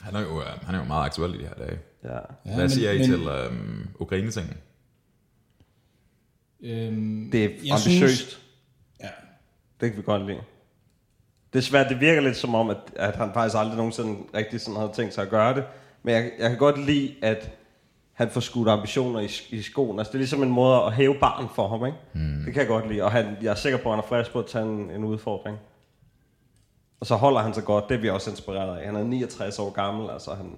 Speaker 1: Han er, jo, øh, han er jo meget aktuel i de her dage.
Speaker 3: ja.
Speaker 4: Ja,
Speaker 1: Hvad siger I
Speaker 4: men,
Speaker 1: til øhm, Ukraine-tingen?
Speaker 4: Øhm,
Speaker 3: Det er
Speaker 4: Jeg
Speaker 3: ambitiøst. Synes...
Speaker 4: ja,
Speaker 3: Det kan vi godt lide. Desværre, det virker lidt som om, at, at han faktisk aldrig nogensinde rigtig sådan havde tænkt sig at gøre det. Men jeg, jeg kan godt lide, at han får skudt ambitioner i, i skoen. Altså, det er ligesom en måde at hæve barn for ham, ikke? Mm. Det kan jeg godt lide. Og han, jeg er sikker på, at han er frisk på at tage en, en udfordring. Og så holder han sig godt. Det er vi også inspireret af. Han er 69 år gammel, altså han,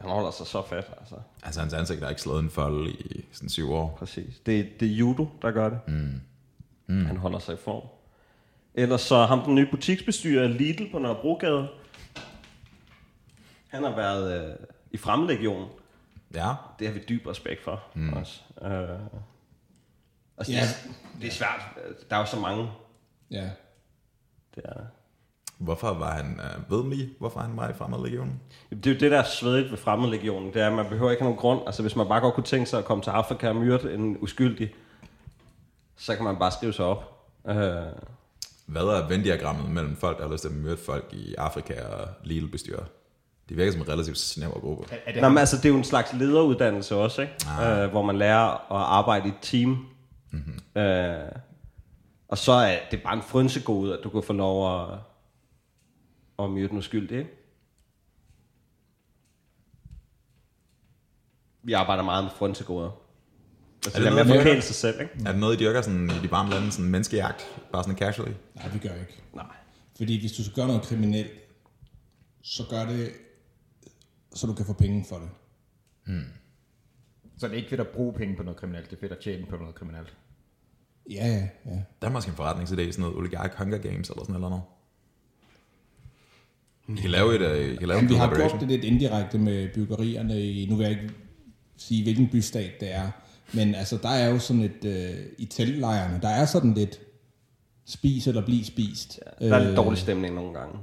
Speaker 3: han holder sig så fat, altså.
Speaker 1: Altså, hans ansigt har ikke slået en fold i sådan syv år.
Speaker 3: Præcis. Det, det er judo, der gør det. Mm. Mm. Han holder sig i form. Ellers så ham den nye butiksbestyrer i Lidl på Nørrebrogade. Han har været øh, i Fremlegionen.
Speaker 1: Ja,
Speaker 3: Det har vi dyb respekt for mm. også. Øh, altså,
Speaker 4: Ja.
Speaker 3: det, er- det er svært. Der er jo så mange.
Speaker 4: ja.
Speaker 3: Det er, der.
Speaker 1: hvorfor var han, øh, ved mig, hvorfor han var i Fremmedlegionen?
Speaker 3: det er jo det, der er svedigt ved Fremmedlegionen. Det er, at man behøver ikke have nogen grund. Altså, hvis man bare godt kunne tænke sig at komme til Afrika og myrde en uskyldig, så kan man bare skrive sig op. Øh,
Speaker 1: Hvad er venddiagrammet mellem folk, der har lyst til at myrde folk i Afrika og Lille bestyrer? Det virker som en relativt snæver gruppe.
Speaker 8: Er, er det
Speaker 3: Nå, men altså, det er jo en slags lederuddannelse også, ikke? Ah. Øh, hvor man lærer at arbejde i et team. Mm-hmm. Øh, og så er det bare en frynsegode, at du kan få lov at, at myrde den uskyldige, ikke? Vi arbejder meget med frynsegoder. Altså, det der
Speaker 1: noget
Speaker 3: med at
Speaker 1: med-
Speaker 3: forkæle sig selv, ikke?
Speaker 1: Er det noget, I dyrker sådan, i de varme lande, sådan en menneskejagt, bare sådan casually?
Speaker 4: Nej, vi gør ikke.
Speaker 3: Nej.
Speaker 4: Fordi hvis du skal gøre noget kriminelt, så gør det, så du kan få penge for det.
Speaker 8: Så det er ikke fedt at bruge penge på noget kriminelt, det er fedt at tjene på noget kriminelt.
Speaker 4: Ja, ja, ja.
Speaker 1: Der er måske en forretningsidé, sådan noget oligark Hunger Games eller sådan noget. I kan lave et, øh, I kan lave en
Speaker 4: Men vi har gjort det
Speaker 1: collaboration.
Speaker 4: lidt indirekte med byggerierne i, nu vil jeg ikke sige, hvilken bystat det er, men altså, der er jo sådan et, øh, i teltlejrene, der er sådan lidt spis eller bliv spist. Ja,
Speaker 3: Der er lidt dårlig stemning nogle gange.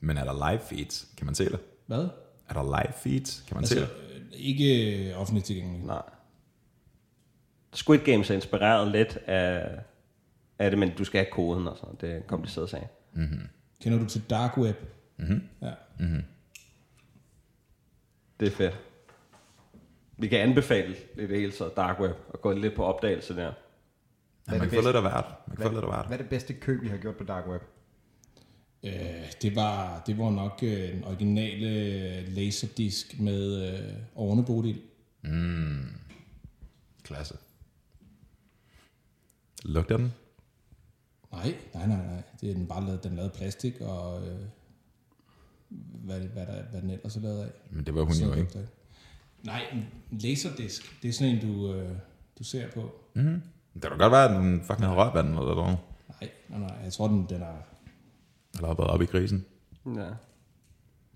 Speaker 1: Men er der live feeds? Kan man se det?
Speaker 4: Hvad?
Speaker 1: Er der live feeds? Kan man se
Speaker 4: Altså,
Speaker 1: det?
Speaker 4: øh, ikke øh, offentligt tilgængeligt.
Speaker 3: Nej. Squid Games er inspireret lidt af, af det, men du skal have koden og sådan noget. Det er en kompliceret sag.
Speaker 4: Kender du til Dark Web?
Speaker 3: Det er fedt. Vi kan anbefale i det hele taget Dark Web og gå lidt på opdagelse der.
Speaker 1: Ja,
Speaker 8: det
Speaker 1: man kan få
Speaker 8: bedste?
Speaker 1: lidt af hvert. Man kan få lidt af hvert.
Speaker 8: Hvad er det bedste køb, I har gjort på Dark Web?
Speaker 4: Øh, det, var, det var nok øh, den originale laserdisk med øh, Orne Bodil.
Speaker 1: Klasse. Lugter den?
Speaker 4: Nej, nej, nej, nej. Det er den bare lavet, den er lavet af plastik og øh, hvad, hvad, der, hvad den ellers er lavet af.
Speaker 1: Men det var hun
Speaker 4: Så
Speaker 1: jo ikke.
Speaker 4: lugter det. Nej, en laserdisk. Det er sådan en, du, øh, du ser på.
Speaker 1: Det kan da godt være, at den fucking har rørt vandet eller noget.
Speaker 4: Nej, nej, nej. Jeg tror, den, den er...
Speaker 1: Eller har været oppe i krisen.
Speaker 3: Ja.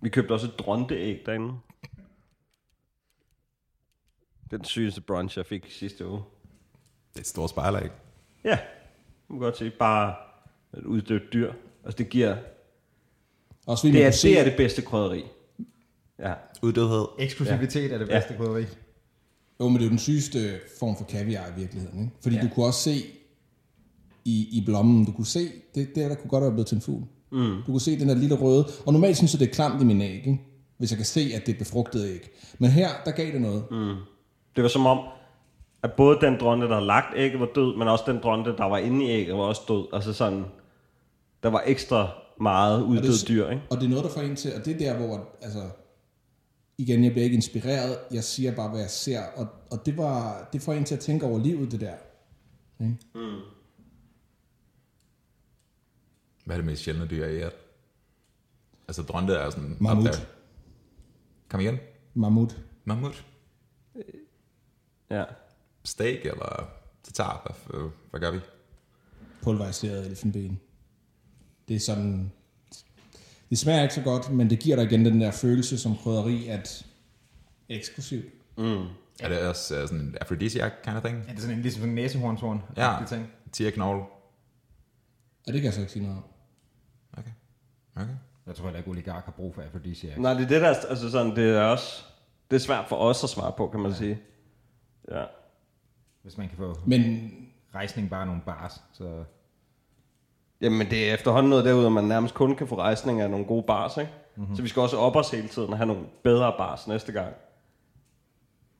Speaker 3: Vi købte også et dronteæg derinde. Det er den sygeste brunch, jeg fik sidste uge.
Speaker 1: Det er et stort spejlæg.
Speaker 3: Ja, man kan godt se. Bare et uddødt dyr. Altså det giver...
Speaker 4: Også fordi
Speaker 3: Det
Speaker 4: man
Speaker 3: er
Speaker 4: kunne se,
Speaker 3: det, er det bedste krydderi. Ja.
Speaker 1: Uddødhed.
Speaker 8: Eksklusivitet ja. er det
Speaker 3: Ja.
Speaker 8: bedste ja. krydderi.
Speaker 4: Jo, men det er jo den sygeste form for kaviar i virkeligheden, ikke? Fordi ja. du kunne også se i, i blommen, du kunne se, det der, der kunne godt være blevet til en fugl. Mm. Du kunne se den der lille røde, og normalt synes jeg, det er klamt i min æg, ikke? hvis jeg kan se, at det er et befrugtet æg. Men her, der gav det noget. Mm.
Speaker 3: Det var som om, at både den dronte, der havde lagt ægget, var død, men også den dronte, der var inde i ægget, var også død. Altså sådan... Der var ekstra meget uddødt dyr, ikke?
Speaker 4: Og det er noget, der får en til, og det er der, hvor altså, igen, jeg bliver ikke inspireret, jeg siger bare, hvad jeg ser, og, og det, var, det får en til at tænke over livet, det der. Ikke?
Speaker 1: Hvad er det mest sjældne dyr, I er? Altså, dronte er sådan... op
Speaker 4: Mammut.
Speaker 1: der. Kom igen.
Speaker 4: Mammut.
Speaker 1: Mammut.
Speaker 3: Ja.
Speaker 1: Steak eller tatar? Hvad, øh, hvad gør vi?
Speaker 4: pulveriseret elfenben. Det er sådan... Det smager ikke så godt, men det giver dig igen den der følelse som krydderi, at eksklusivt.
Speaker 1: Er det også øh, sådan en aphrodisiac kind of thing?
Speaker 2: Er det sådan en, ligesom sådan en næsehornshorn?
Speaker 1: Ja,
Speaker 2: Ting?
Speaker 1: tierknogle.
Speaker 4: Og det kan jeg så ikke sige noget om.
Speaker 1: Okay. Okay.
Speaker 2: Jeg tror heller ikke, oligark har brug for afrodisiak.
Speaker 3: Nej, det er det der, er- altså sådan, det er også, det er svært for os at svare på, kan man ja. sige. Ja.
Speaker 2: Hvis man kan få
Speaker 4: Men
Speaker 2: rejsning bare nogle bars, så...
Speaker 3: Jamen, det er efterhånden noget derude, at man nærmest kun kan få rejsning af nogle gode bars, ikke? Mm-hmm. Så vi skal også op os hele tiden og have nogle bedre bars næste gang.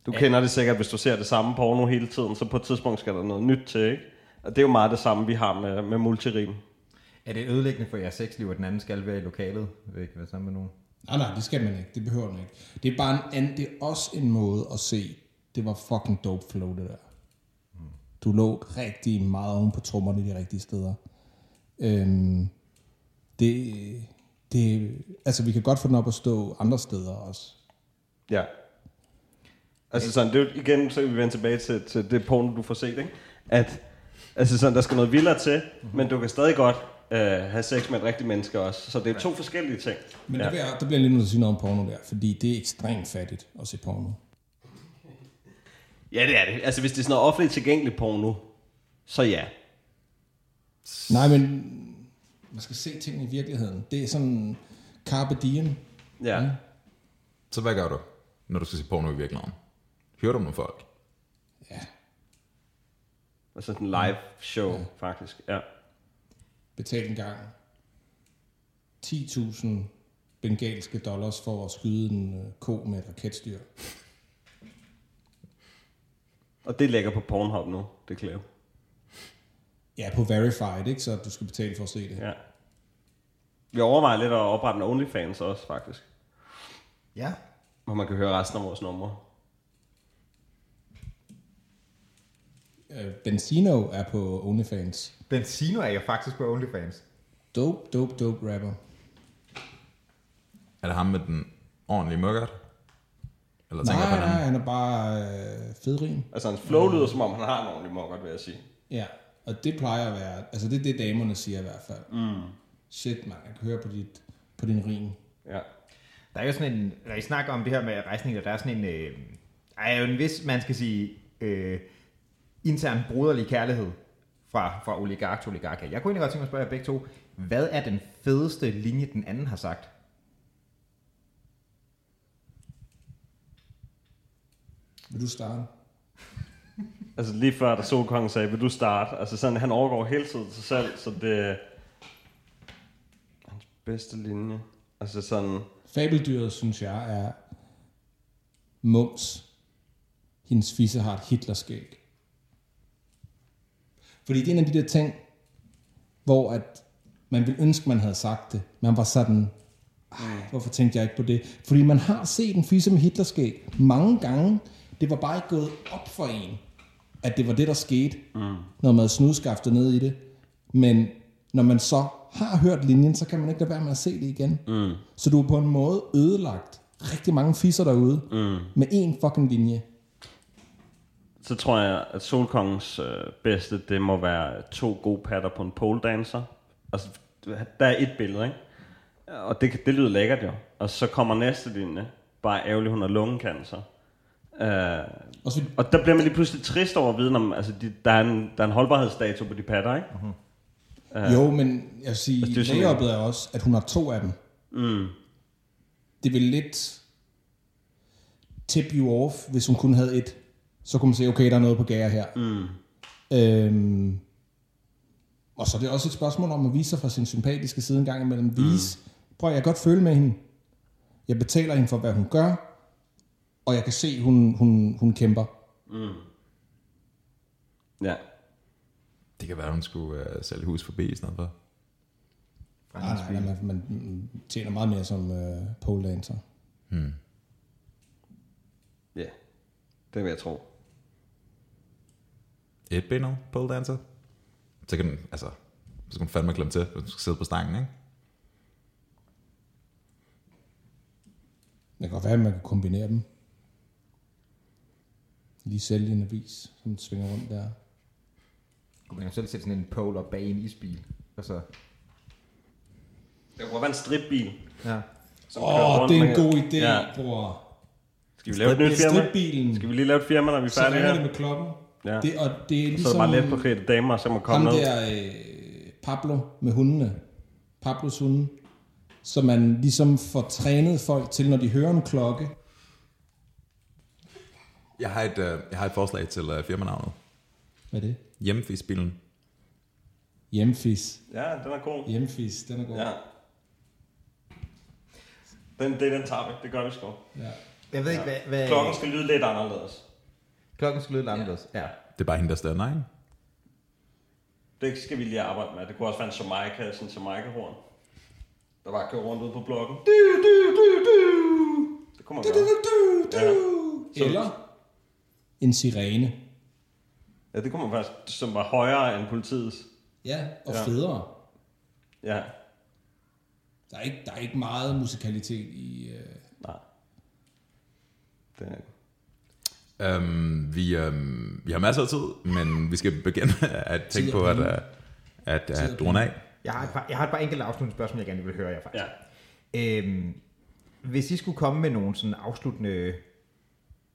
Speaker 3: Du ja. kender det sikkert, hvis du ser det samme porno hele tiden, så på et tidspunkt skal der noget nyt til, ikke? Og det er jo meget det samme, vi har med, med multirim.
Speaker 2: Er det ødelæggende for jeres sexliv, at den anden skal være i lokalet? Jeg vil ikke være sammen med nogen.
Speaker 4: nej, nej, det skal man ikke. Det behøver man ikke. Det er bare en anden, det er også en måde at se, det var fucking dope flow, det der. Du lå rigtig meget oven på trommerne de rigtige steder. Øhm, det, det, altså vi kan godt få den op at stå andre steder også.
Speaker 3: Ja. Altså sådan, det er jo igen, så kan vi vende tilbage til, til det porno, du får set, ikke? At, altså sådan, der skal noget vildere til, mm-hmm. men du kan stadig godt øh, have sex med et rigtigt menneske også. Så det er to forskellige ting.
Speaker 4: Men
Speaker 3: ja.
Speaker 4: ja. der, bliver, der bliver jeg lige nødt til at sige noget om porno der, fordi det er ekstremt fattigt at se porno.
Speaker 3: Ja, det er det. Altså, hvis det er sådan noget offentligt tilgængeligt porno, så ja.
Speaker 4: Nej, men man skal se tingene i virkeligheden. Det er sådan carpe diem.
Speaker 3: Ja. Mm.
Speaker 1: Så hvad gør du, når du skal se porno i virkeligheden? Hører du om nogle folk?
Speaker 4: Ja,
Speaker 3: Altså sådan en live show, ja. faktisk. Ja.
Speaker 4: betal en gang 10.000 bengalske dollars for at skyde en øh, ko med et raketstyr.
Speaker 3: Og det ligger på Pornhub nu, det klæder.
Speaker 4: Ja, på verified, ikke? Så du skal betale for at se det. Ja.
Speaker 3: Ja. Vi overvejer lidt at oprette en OnlyFans også, faktisk.
Speaker 2: Ja.
Speaker 3: Hvor man kan høre resten af vores numre.
Speaker 4: Øh, Benzino er på OnlyFans.
Speaker 2: Benzino er jo faktisk på OnlyFans.
Speaker 4: Dope, dope, dope rapper.
Speaker 1: Er det ham med den ordentlige mørkert? Eller tænker jeg
Speaker 4: Nej,
Speaker 1: på den
Speaker 4: nej,
Speaker 1: anden?
Speaker 4: han er bare øh, fedrim.
Speaker 3: Altså, hans flow lyder, som om han har en ordentlig mokkert, vil jeg sige.
Speaker 4: Ja, og det plejer at være, altså det er det, damerne siger i hvert fald. Mm. Shit, man, jeg kan høre på, dit, på din rim.
Speaker 3: Ja.
Speaker 2: Der er jo sådan en, når I snakker om det her med rejsninger, der er sådan en, øh, der er jo en vis, man skal sige, øh, intern broderlig kærlighed fra, fra oligark til oligark. Jeg kunne egentlig godt tænke mig at spørge jer begge to, hvad er den fedeste linje, den anden har sagt?
Speaker 4: Vil du starte?
Speaker 3: Altså, lige før, da Solkongen sagde, vil du starte? Altså, sådan, han overgår hele tiden sig selv, så det... Hans bedste linje. Altså, sådan...
Speaker 4: Fabeldyret, synes jeg, er Mums. Hendes fisse har et Hitlerskæg. Fordi det er en af de der ting, hvor at man ville ønske, man havde sagt det. Man var sådan, "Ej, hvorfor tænkte jeg ikke på det? Fordi man har set en fisse med Hitlerskæg mange gange. Det var bare ikke gået op for en, at det var det, der skete, mm. når man havde snudskaftet ned i det. Men når man så har hørt linjen, så kan man ikke lade være med at se det igen. Mm. Så du er på en måde ødelagt rigtig mange fisser derude mm. med én fucking linje.
Speaker 3: så tror jeg, at Solkongens øh, bedste, det må være to gode patter på en pole dancer. Altså, der er et billede, ikke? Og det, kan- det lyder lækkert jo. Og så kommer næste linje, bare ærgerlig, hun har lungekancer. Øh,
Speaker 4: Og så
Speaker 3: og der bliver man lige pludselig trist over at vide, om, altså, de, der, er en, der er en holdbarhedsdato på de patter, ikke?
Speaker 4: Jo, men jeg vil sige,
Speaker 3: Altså, det er
Speaker 4: altså,
Speaker 3: sådan-
Speaker 4: layupet er også, at hun har to af dem. Mm. Det ville lidt tip you off, hvis hun kun havde et. Så kunne man se, okay, der er noget på gære her. Mm. Øhm, og så er det også et spørgsmål om at vise sig fra sin sympatiske side en gang imellem. Vise, mm. prøv at jeg kan godt føle med hende. Jeg betaler hende for, hvad hun gør, og jeg kan se, hun, hun, hun kæmper.
Speaker 3: Ja.
Speaker 1: Det kan være, hun skulle uh, sælge hus forbi i stedet for.
Speaker 4: Nej, nej, nej, man, man tjener meget mere som øh, pole dancer.
Speaker 3: Ja, det vil jeg tro.
Speaker 1: Et benet pole dancer. Så kan den, altså, så kan den fandme klemme til, hvis du skal sidde på stangen, ikke?
Speaker 4: Det kan godt være, at man kan kombinere dem. Lige sælgende vis, som den svinger rundt der.
Speaker 2: Kunne man jo selv sætte sådan en pole op bag en isbil, og så...
Speaker 3: Det kunne være en stripbil.
Speaker 2: Ja.
Speaker 4: Åh,
Speaker 3: rundt
Speaker 4: oh, det er
Speaker 3: med-
Speaker 4: en god idé,
Speaker 3: Ja.
Speaker 4: ja. bror.
Speaker 3: Skal vi lave et nyt firma?
Speaker 4: Stripbilen,
Speaker 3: Skal vi lige lave et firma, når vi er
Speaker 4: så
Speaker 3: færdige
Speaker 4: ringer det
Speaker 3: her?
Speaker 4: med klokken.
Speaker 3: Ja.
Speaker 4: Det, og
Speaker 3: Så
Speaker 4: det er
Speaker 3: er
Speaker 4: ligesom
Speaker 3: det bare let på flere damer, så må komme
Speaker 4: ham
Speaker 3: ned.
Speaker 4: der øh, Pablo med hundene. Pablos hunde. Så man ligesom får trænet folk til, når de hører en klokke.
Speaker 1: Jeg har et, øh, jeg har et forslag til øh, firmanavnet.
Speaker 4: Hvad er det?
Speaker 1: Hjemmefisbilen.
Speaker 4: Hjemfis.
Speaker 3: Ja, den er god.
Speaker 4: Hjemfis, den er god.
Speaker 3: Ja. Den, det er den tager vi. Det gør vi sgu.
Speaker 4: ja.
Speaker 2: Jeg ved ikke, hvad... hvad
Speaker 3: Klokken skal lyde lidt anderledes.
Speaker 2: klokken skal lyde anderledes. Ja.
Speaker 1: Det er bare hende, der stænder, ikke?
Speaker 3: Det skal vi lige arbejde med. Det kunne også være en Jamaica, sådan en Jamaica-horn. Der bare kører rundt ude på blokken. Du, du, du, du. Det kunne man gøre. Ja.
Speaker 4: Eller en sirene.
Speaker 3: Ja, det kunne man faktisk, som var højere end politiets.
Speaker 4: Ja, og
Speaker 3: Ja.
Speaker 4: ja. federe.
Speaker 3: Ja,
Speaker 4: Der er, ikke, der er ikke meget musikalitet i... Øh,
Speaker 3: nej. Det er...
Speaker 1: Øhm, vi, øhm, vi har masser af tid, men vi skal begynde at tænke
Speaker 4: Tid og
Speaker 1: på at,
Speaker 4: penge.
Speaker 1: at, at, øh, at
Speaker 4: og
Speaker 1: drone af.
Speaker 2: Jeg har et par, jeg har et par enkelte afsluttende spørgsmål, jeg gerne vil høre jer faktisk.
Speaker 3: Ja.
Speaker 2: Øhm, hvis I skulle komme med nogle sådan afsluttende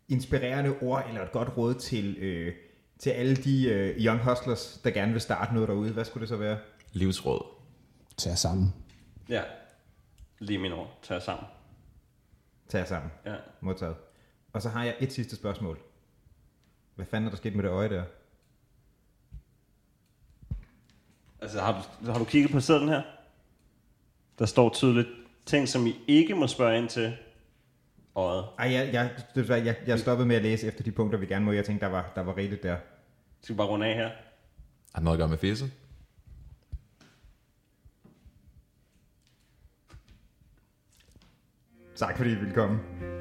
Speaker 2: inspirerende ord eller et godt råd til, øh, til alle de øh, young hustlers, der gerne vil starte noget derude, hvad skulle det så være?
Speaker 1: Livsråd.
Speaker 4: tag jer sammen.
Speaker 3: ja. Lige min ord. Tag jer sammen.
Speaker 2: Tag jer sammen.
Speaker 3: Ja.
Speaker 2: Modtaget. Og så har jeg et sidste spørgsmål. Hvad fanden er der sket med det øje der?
Speaker 3: Altså, har du, har du kigget på sædlen her? Der står tydeligt ting, som I ikke må spørge ind til. Øjet.
Speaker 2: Ej, jeg, jeg, desværre, jeg, jeg stoppede med at læse efter de punkter, vi gerne må. Jeg tænkte, der var, der var rigeligt der.
Speaker 3: Skal vi bare runde af her?
Speaker 1: Har det noget at gøre med fisse?
Speaker 2: Tak fordi I ville komme.